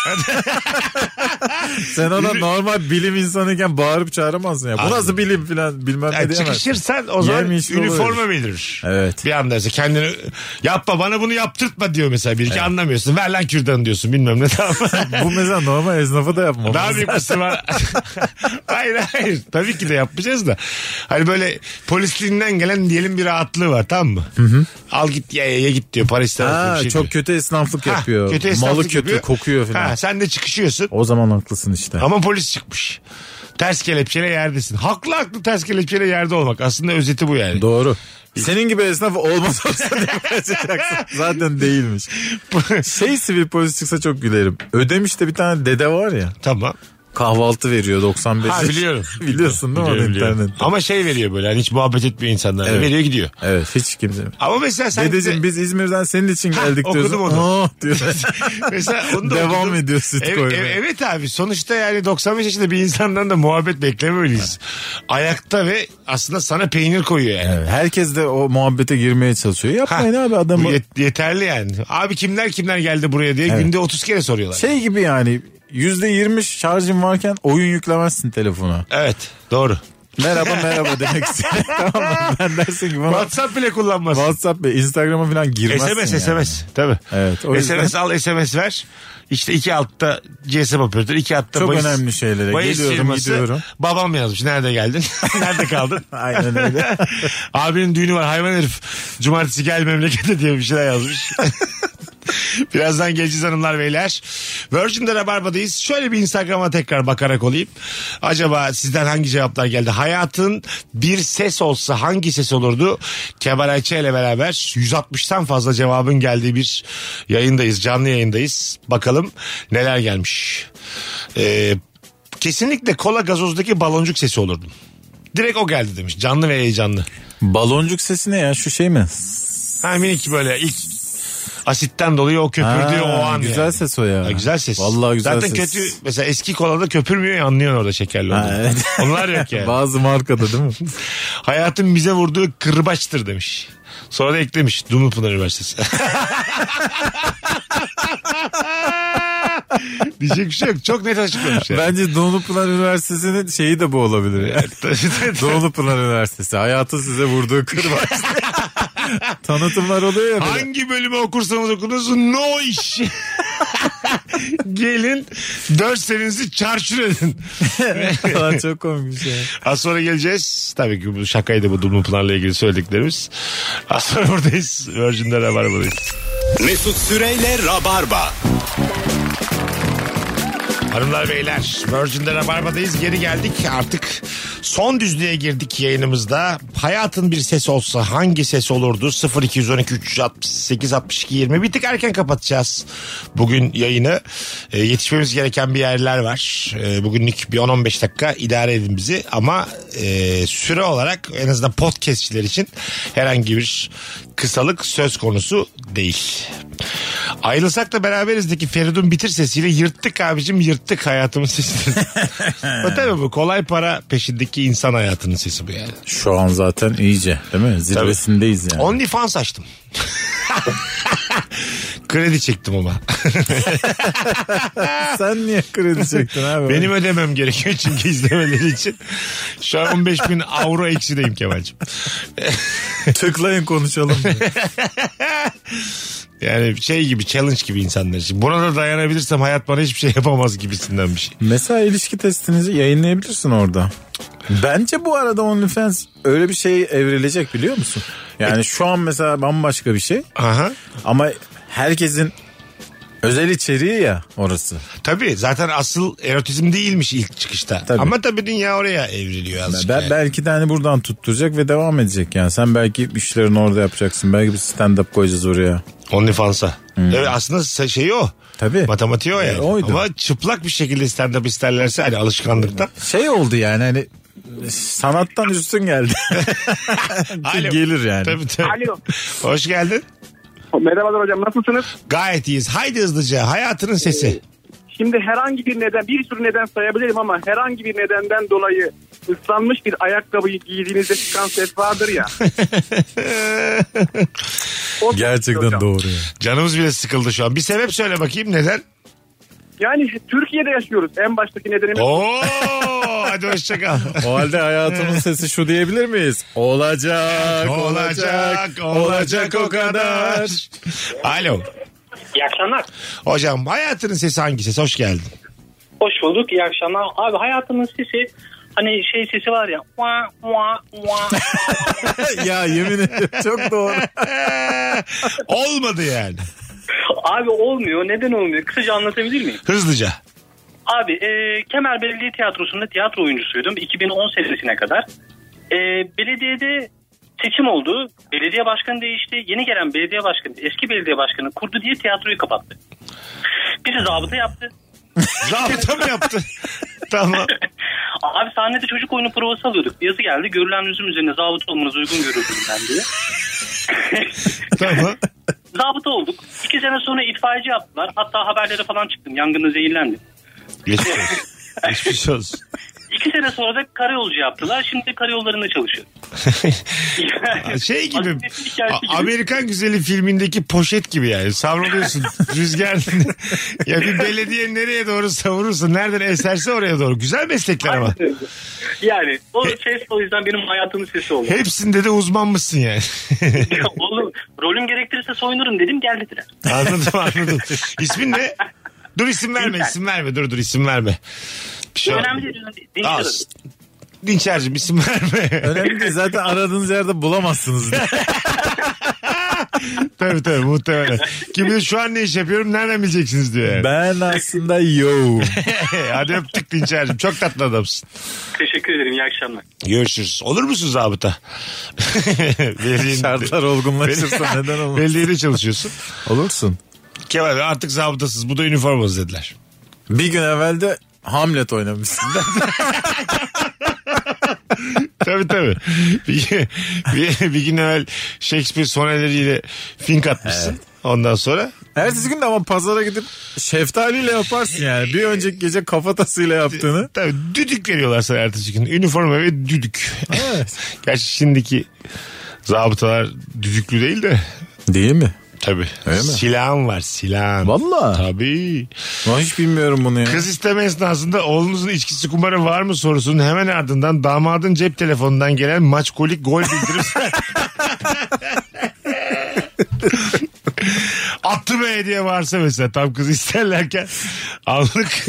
Speaker 3: Sen ona normal bilim insanıyken bağırıp çağıramazsın ya. Bu
Speaker 2: Abi.
Speaker 3: nasıl bilim filan bilmem ne
Speaker 2: Yani
Speaker 3: diyemezsin.
Speaker 2: çıkışırsan o zaman
Speaker 3: Yemiş olur.
Speaker 2: üniforma bildirir.
Speaker 3: Evet.
Speaker 2: Bir anda mesela kendini yapma bana bunu yaptırtma diyor mesela bir iki anlamıyorsun. Ver lan kürdanı diyorsun bilmem ne tamam.
Speaker 3: Bu mesela normal esnafa da yapmamız.
Speaker 2: Daha büyük Müslüman. hayır hayır. Tabii ki de yapmayacağız da. Hani böyle polisliğinden gelen diyelim bir rahatlığı var tamam mı? Al git ye ye, ye git diyor. Para istemez diyor,
Speaker 3: Ha,
Speaker 2: bir şey
Speaker 3: çok
Speaker 2: diyor.
Speaker 3: kötü esnaflık
Speaker 2: Ha,
Speaker 3: yapıyor.
Speaker 2: esnaflık
Speaker 3: Malı kötü
Speaker 2: yapıyor.
Speaker 3: kokuyor filan.
Speaker 2: Ha, sen de çıkışıyorsun.
Speaker 3: O zaman haklısın işte.
Speaker 2: Ama polis çıkmış. Ters kelepçeyle yerdesin. Haklı haklı ters kelepçeyle yerde olmak. Aslında özeti bu yani.
Speaker 3: Doğru. Senin gibi esnaf olmaz olsa diye kaçacaksın. Zaten değilmiş. Şey sivil polis çıksa çok gülerim. Ödemiş'te bir tane dede var ya.
Speaker 2: tamam.
Speaker 3: kahvaltı veriyor 95.
Speaker 2: Ha biliyorum.
Speaker 3: Biliyorsun değil mi
Speaker 2: Biliyorum,
Speaker 3: onu
Speaker 2: biliyorum.
Speaker 3: internet?
Speaker 2: Ama şey veriyor böyle hani hiç muhabbet etmiyor insanlar.
Speaker 3: Evet.
Speaker 2: Veriyor gidiyor.
Speaker 3: Evet hiç kimse.
Speaker 2: Ama mesela sen
Speaker 3: Dedeciğim biz İzmir'den senin için
Speaker 2: Ha,
Speaker 3: geldik
Speaker 2: okudum
Speaker 3: diyorsun.
Speaker 2: onu.
Speaker 3: Aa, diyor.
Speaker 2: Mesela onu da
Speaker 3: Devam
Speaker 2: okudum.
Speaker 3: ediyor süt
Speaker 2: Ev-
Speaker 3: koymaya.
Speaker 2: ev- evet abi sonuçta yani 95 yaşında bir insandan da muhabbet beklememeliyiz. Ayakta ve aslında sana peynir koyuyor yani.
Speaker 3: Evet, herkes de o muhabbete girmeye çalışıyor. Yapmayın
Speaker 2: Ha,
Speaker 3: abi
Speaker 2: bu
Speaker 3: adamı.
Speaker 2: yet- yeterli yani. Abi kimler kimler geldi buraya diye
Speaker 3: Evet.
Speaker 2: günde 30 kere soruyorlar.
Speaker 3: Şey gibi yani %20 şarjın varken oyun yüklemezsin telefona.
Speaker 2: Evet doğru.
Speaker 3: Merhaba merhaba demek istiyor. tamam mı? Ben dersin ki bana
Speaker 2: WhatsApp bile kullanmaz.
Speaker 3: WhatsApp ve Instagram'a falan girmezsin
Speaker 2: SMS
Speaker 3: yani.
Speaker 2: SMS tabii.
Speaker 3: Evet, o yüzden-
Speaker 2: SMS al SMS ver. İşte iki altta GSM operatör, iki altta
Speaker 3: Çok
Speaker 2: bahis-
Speaker 3: önemli şeylere.
Speaker 2: bahis
Speaker 3: Geliyorum, gidiyorum.
Speaker 2: Babam yazmış. Nerede geldin? Nerede kaldın?
Speaker 3: Aynen öyle.
Speaker 2: Abinin düğünü var hayvan herif. Cumartesi gel memlekete diye bir şeyler yazmış. Birazdan geleceğiz hanımlar beyler. Virgin'de Rabarba'dayız. Şöyle bir Instagram'a tekrar bakarak olayım. Acaba sizden hangi cevaplar geldi? Hayatın bir ses olsa hangi ses olurdu? Kemal Ayça ile beraber 160'tan fazla cevabın geldiği bir yayındayız. Canlı yayındayız. Bakalım neler gelmiş. Ee, kesinlikle kola gazozdaki baloncuk sesi olurdum. Direkt o geldi demiş. Canlı ve heyecanlı.
Speaker 3: Baloncuk sesi ne ya şu şey mi?
Speaker 2: Ha minik böyle ilk asitten dolayı o köpürdüğü
Speaker 3: Ha,
Speaker 2: o an.
Speaker 3: Güzel
Speaker 2: yani.
Speaker 3: ses o ya.
Speaker 2: Ha, güzel ses.
Speaker 3: Vallahi güzel
Speaker 2: Zaten
Speaker 3: ses.
Speaker 2: kötü mesela eski kolada köpürmüyor ya anlıyorsun orada şekerli
Speaker 3: Ha,
Speaker 2: olduğunu.
Speaker 3: evet.
Speaker 2: Onlar yok yani.
Speaker 3: Bazı markada değil mi?
Speaker 2: Hayatın bize vurduğu kırbaçtır demiş. Sonra da eklemiş Dumlupınar Üniversitesi. Diyecek bir şey yok. Çok net açıklamış yani.
Speaker 3: Bence Doğulupınar Üniversitesi'nin şeyi de bu olabilir. Yani. Doğulupınar Üniversitesi hayatı size vurduğu kırbaç. Tanıtımlar oluyor ya. böyle.
Speaker 2: Hangi bölümü okursanız okunuz no iş. Gelin dört senenizi çarçur edin.
Speaker 3: Falan çok komik bir şey.
Speaker 2: Az sonra geleceğiz. Tabii ki bu şakaydı bu Dumlu Pınar'la ilgili söylediklerimiz. Az sonra buradayız. Virgin'de Rabarba'dayız.
Speaker 1: Mesut Süreyle Rabarba.
Speaker 2: Hanımlar beyler Virgin'de Rabarba'dayız. Geri geldik artık son düzlüğe girdik yayınımızda. Hayatın bir sesi olsa hangi ses olurdu? 0212 368 62 20 bir tık erken kapatacağız bugün yayını. E, yetişmemiz gereken bir yerler var. E, bugünlük bir 10-15 dakika idare edin bizi ama e, süre olarak en azından podcastçiler için herhangi bir kısalık söz konusu değil. Ayrılsak da beraberizdeki Feridun bitir sesiyle yırttık abicim yırttık hayatımın sesini. o tabii bu kolay para peşindeki insan hayatının sesi bu yani.
Speaker 3: Şu an zaten iyice değil mi? Zirvesindeyiz
Speaker 2: Oh!
Speaker 3: yani.
Speaker 2: OnlyFans açtım. Kredi çektim ama.
Speaker 3: Sen niye kredi çektin abi?
Speaker 2: Benim ödemem gerekiyor çünkü izlemeleri için. Şu an 15 bin avro eksideyim Kemal'cim.
Speaker 3: tıklayın konuşalım.
Speaker 2: Yani şey gibi challenge gibi insanlar için. Buna da dayanabilirsem hayat bana hiçbir şey yapamaz gibisinden bir şey.
Speaker 3: Mesela ilişki testinizi yayınlayabilirsin orada. Bence bu arada OnlyFans öyle bir şey evrilecek biliyor musun? Yani şu an mesela bambaşka bir şey
Speaker 2: Aha.
Speaker 3: ama herkesin özel içeriği ya orası.
Speaker 2: Tabii zaten asıl erotizm değilmiş ilk çıkışta.
Speaker 3: Tabii.
Speaker 2: Ama tabii dünya oraya evriliyor azıcık.
Speaker 3: Ben,
Speaker 2: yani.
Speaker 3: belki de hani buradan tutturacak ve devam edecek yani. Sen belki işlerini orada yapacaksın. Belki bir stand-up koyacağız oraya.
Speaker 2: OnlyFans'a. Evet aslında se- şeyi o.
Speaker 3: Tabii.
Speaker 2: Matematiği o yani.
Speaker 3: E, Hmm. oydu.
Speaker 2: Ama çıplak bir şekilde stand-up isterlerse hani alışkanlıkta.
Speaker 3: Şey oldu yani hani sanattan üstün geldi.
Speaker 2: Alo.
Speaker 3: Gelir yani.
Speaker 2: Tabii tabii.
Speaker 6: Alo.
Speaker 2: Hoş geldin.
Speaker 4: Merhabalar hocam nasılsınız?
Speaker 2: Gayet iyiyiz. Haydi hızlıca hayatının sesi.
Speaker 4: Şimdi herhangi bir neden, bir sürü neden sayabilirim ama herhangi bir nedenden dolayı ıslanmış bir ayakkabıyı giydiğinizde çıkan ses vardır ya. O ses
Speaker 3: Gerçekten
Speaker 4: hocam.
Speaker 3: doğru. yani.
Speaker 2: Canımız bile sıkıldı şu an. Bir sebep söyle bakayım neden?
Speaker 4: Yani Türkiye'de yaşıyoruz. En baştaki nedenimiz
Speaker 2: Oo, hadi hoşça kal.
Speaker 3: O halde hayatımın sesi şu diyebilir miyiz? Olacak, olacak, olacak o kadar.
Speaker 2: Alo.
Speaker 9: İyi akşamlar.
Speaker 2: Hocam hayatının sesi hangi ses? Hoş geldin.
Speaker 9: Hoş bulduk. İyi akşamlar. Abi hayatımın sesi hani şey sesi var ya. Mua, mua, mua.
Speaker 3: ya yemin ederim çok doğru.
Speaker 2: Ee, Olmadı yani.
Speaker 9: Abi olmuyor. Neden olmuyor? Kısaca anlatabilir miyim?
Speaker 2: Hızlıca.
Speaker 9: Abi e, Kemer Belediye Tiyatrosu'nda tiyatro oyuncusuydum. 2010 senesine kadar. E, belediyede seçim oldu. Belediye başkanı değişti. Yeni gelen belediye başkanı eski belediye başkanı kurdu diye tiyatroyu kapattı. Bizi zabıta yaptı.
Speaker 2: Zabıta mı yaptı? Tamam.
Speaker 9: Abi sahnede çocuk oyunu provası alıyorduk. Bir Yazı geldi görülen lüzum üzerine zabıt olmanız uygun görüldüğünden diye.
Speaker 2: tamam.
Speaker 9: Zabıta olduk. İki sene sonra itfaiyeci yaptılar. Hatta haberlere falan çıktım. Yangında zehirlendim.
Speaker 2: Geçmiş olsun. Geçmiş olsun.
Speaker 9: İki sene sonra da karayolcu yaptılar. Şimdi karayollarında çalışıyor.
Speaker 2: Şey gibi,
Speaker 9: Aslında hikayesi gibi.
Speaker 2: A- Amerikan Güzeli filmindeki poşet gibi yani. Savruluyorsun rüzgar. ya bir belediye nereye doğru savurursun? Nereden eserse oraya doğru. Güzel meslekler ama.
Speaker 9: Yani o ses o yüzden benim hayatımın sesi oldu.
Speaker 2: Hepsinde de uzmanmışsın yani.
Speaker 9: Oğlum rolüm gerektirirse soyunurum dedim geldiler.
Speaker 2: anladım anladım. İsmin ne? Dur isim verme isim verme. Dur dur isim verme. Bir şey
Speaker 9: Önemli değil. Dinçer
Speaker 2: Al. Dinçer'cim isim verme.
Speaker 3: Önemli değil zaten aradığınız yerde bulamazsınız.
Speaker 2: tabii tabii muhtemelen. Kim bilir şu an ne iş yapıyorum nereden bileceksiniz diyor yani.
Speaker 3: ben aslında yo.
Speaker 2: Hadi öptük Dinçer'cim. Çok tatlı adamsın.
Speaker 9: Teşekkür ederim. İyi akşamlar.
Speaker 2: Görüşürüz. Olur musun zabıta? Belediyenin-
Speaker 3: Şartlar olgunlaşırsa neden olmaz.
Speaker 2: Belediyede çalışıyorsun.
Speaker 3: Olursun.
Speaker 2: Kemal Bey, artık zabıtasız bu da üniformasız dediler.
Speaker 3: Bir gün evvelde Hamlet oynamışsın.
Speaker 2: tabii tabii. Bir, bir, bir gün evvel Shakespeare soneleriyle fink atmışsın. Ondan sonra
Speaker 3: Ertesi gün de ama pazara gidip şeftaliyle yaparsın yani. Bir önceki gece kafatasıyla yaptığını.
Speaker 2: tabii düdük veriyorlar sana ertesi gün. Üniforma ve düdük.
Speaker 3: Evet.
Speaker 2: Gerçi şimdiki zabıtalar düdüklü değil de
Speaker 3: Değil mi?
Speaker 2: tabii.
Speaker 3: Öyle mi?
Speaker 2: Silahın var silahın.
Speaker 3: Valla.
Speaker 2: Tabii.
Speaker 3: Ben hiç bilmiyorum bunu ya.
Speaker 2: Kız isteme esnasında oğlunuzun içkisi kumarı var mı sorusunun hemen ardından damadın cep telefonundan gelen maçkolik gol bildirisi. Attı be diye varsa mesela tam kız isterlerken anlık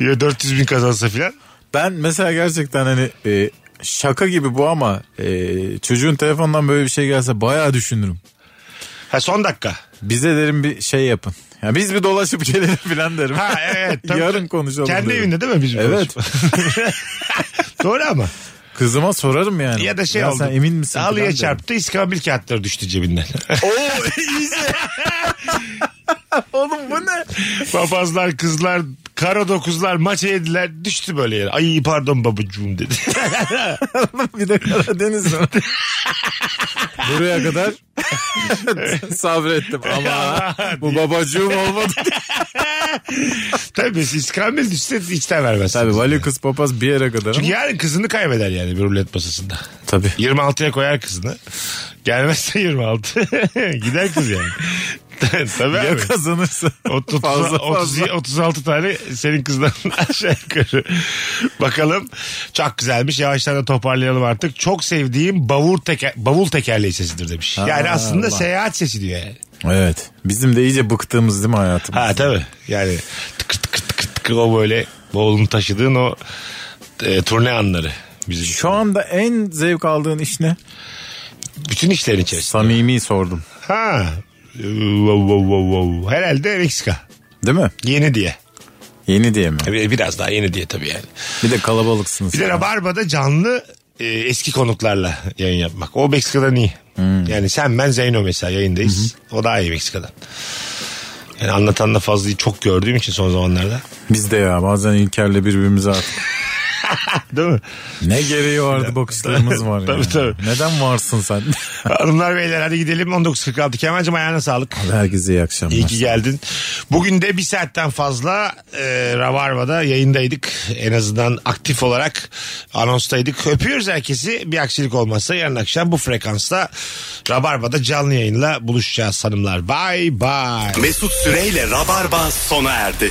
Speaker 2: ya 400 bin kazansa filan.
Speaker 3: Ben mesela gerçekten hani e, şaka gibi bu ama e, çocuğun telefondan böyle bir şey gelse bayağı düşünürüm.
Speaker 2: Ha son dakika.
Speaker 3: Bize derim bir şey yapın. Ya biz bir dolaşıp gelelim filan derim.
Speaker 2: Ha evet. tabii.
Speaker 3: Yarın konuşalım.
Speaker 2: Kendi
Speaker 3: derim.
Speaker 2: evinde değil mi bizim
Speaker 3: Evet.
Speaker 2: konuşma? Doğru ama.
Speaker 3: Kızıma sorarım yani.
Speaker 2: Ya da şey
Speaker 3: ya
Speaker 2: oldu.
Speaker 3: sen emin misin? filan
Speaker 2: Halıya
Speaker 3: derim.
Speaker 2: çarptı iskambil kağıtları düştü cebinden.
Speaker 3: Oğlum bu ne?
Speaker 2: Papazlar kızlar kara dokuzlar maç yediler düştü böyle yere. Ay pardon babacığım dedi.
Speaker 3: bir de Karadeniz var. Buraya kadar sabrettim ama bu babacığım olmadı.
Speaker 2: Tabii iskambil düşse içten vermez.
Speaker 3: Tabii vali kız papaz bir yere kadar.
Speaker 2: Çünkü yarın kızını kaybeder yani bir rulet masasında.
Speaker 3: Tabii.
Speaker 2: 26'ya koyar kızını. Gelmezse 26. Gider kız yani. Tabii
Speaker 3: Ya
Speaker 2: abi.
Speaker 3: kazanırsa
Speaker 2: Ot-
Speaker 3: fazla
Speaker 2: otuz-
Speaker 3: fazla.
Speaker 2: 36 tane senin kızdan aşağı yukarı. Bakalım. Çok güzelmiş. Yavaştan da toparlayalım artık. Çok sevdiğim bavul, teker, bavul tekerleği sesidir demiş. yani
Speaker 3: Ha,
Speaker 2: aslında
Speaker 3: Allah.
Speaker 2: seyahat sesi diyor yani.
Speaker 3: Evet. Bizim de iyice bıktığımız değil mi hayatım?
Speaker 2: Ha tabii. Yani tıkır tıkır tıkır tıkır o böyle bavulunu taşıdığın o e, turne anları. Bizim
Speaker 3: Şu anda en zevk aldığın iş ne?
Speaker 2: bütün işlerin içerisinde.
Speaker 3: Samimi sordum.
Speaker 2: Ha. Ee, wow, wow, wow, wow. Herhalde Meksika.
Speaker 3: Değil mi?
Speaker 2: Yeni diye.
Speaker 3: Yeni diye mi?
Speaker 2: Tabii E, Biraz daha yeni diye tabii yani.
Speaker 3: Bir de kalabalıksınız.
Speaker 2: Bir de Rabarba'da canlı e, eski konuklarla yayın yapmak. O Meksika'dan iyi. Yani sen ben Zeyno mesela yayındayız. O daha iyi Meksika'dan. Yani anlatan da fazla çok gördüğüm için son zamanlarda.
Speaker 3: Biz de ya bazen İlker'le birbirimize attık.
Speaker 2: Değil mi?
Speaker 3: Ne gereği vardı bakışlarımız var ya.
Speaker 2: Tabii, tabii.
Speaker 3: Neden varsın sen?
Speaker 2: Hanımlar beyler hadi gidelim 19.46 Kemal'cim ayağına sağlık.
Speaker 3: Herkese iyi akşamlar.
Speaker 2: İyi ki geldin. Bugün de bir saatten fazla e, Rabarba'da yayındaydık. En azından aktif olarak anonstaydık. Öpüyoruz herkesi. Bir aksilik olmazsa yarın akşam bu frekansla Rabarba'da canlı yayınla buluşacağız hanımlar. Bye bye.
Speaker 1: Mesut Süreyle Rabarba sona erdi.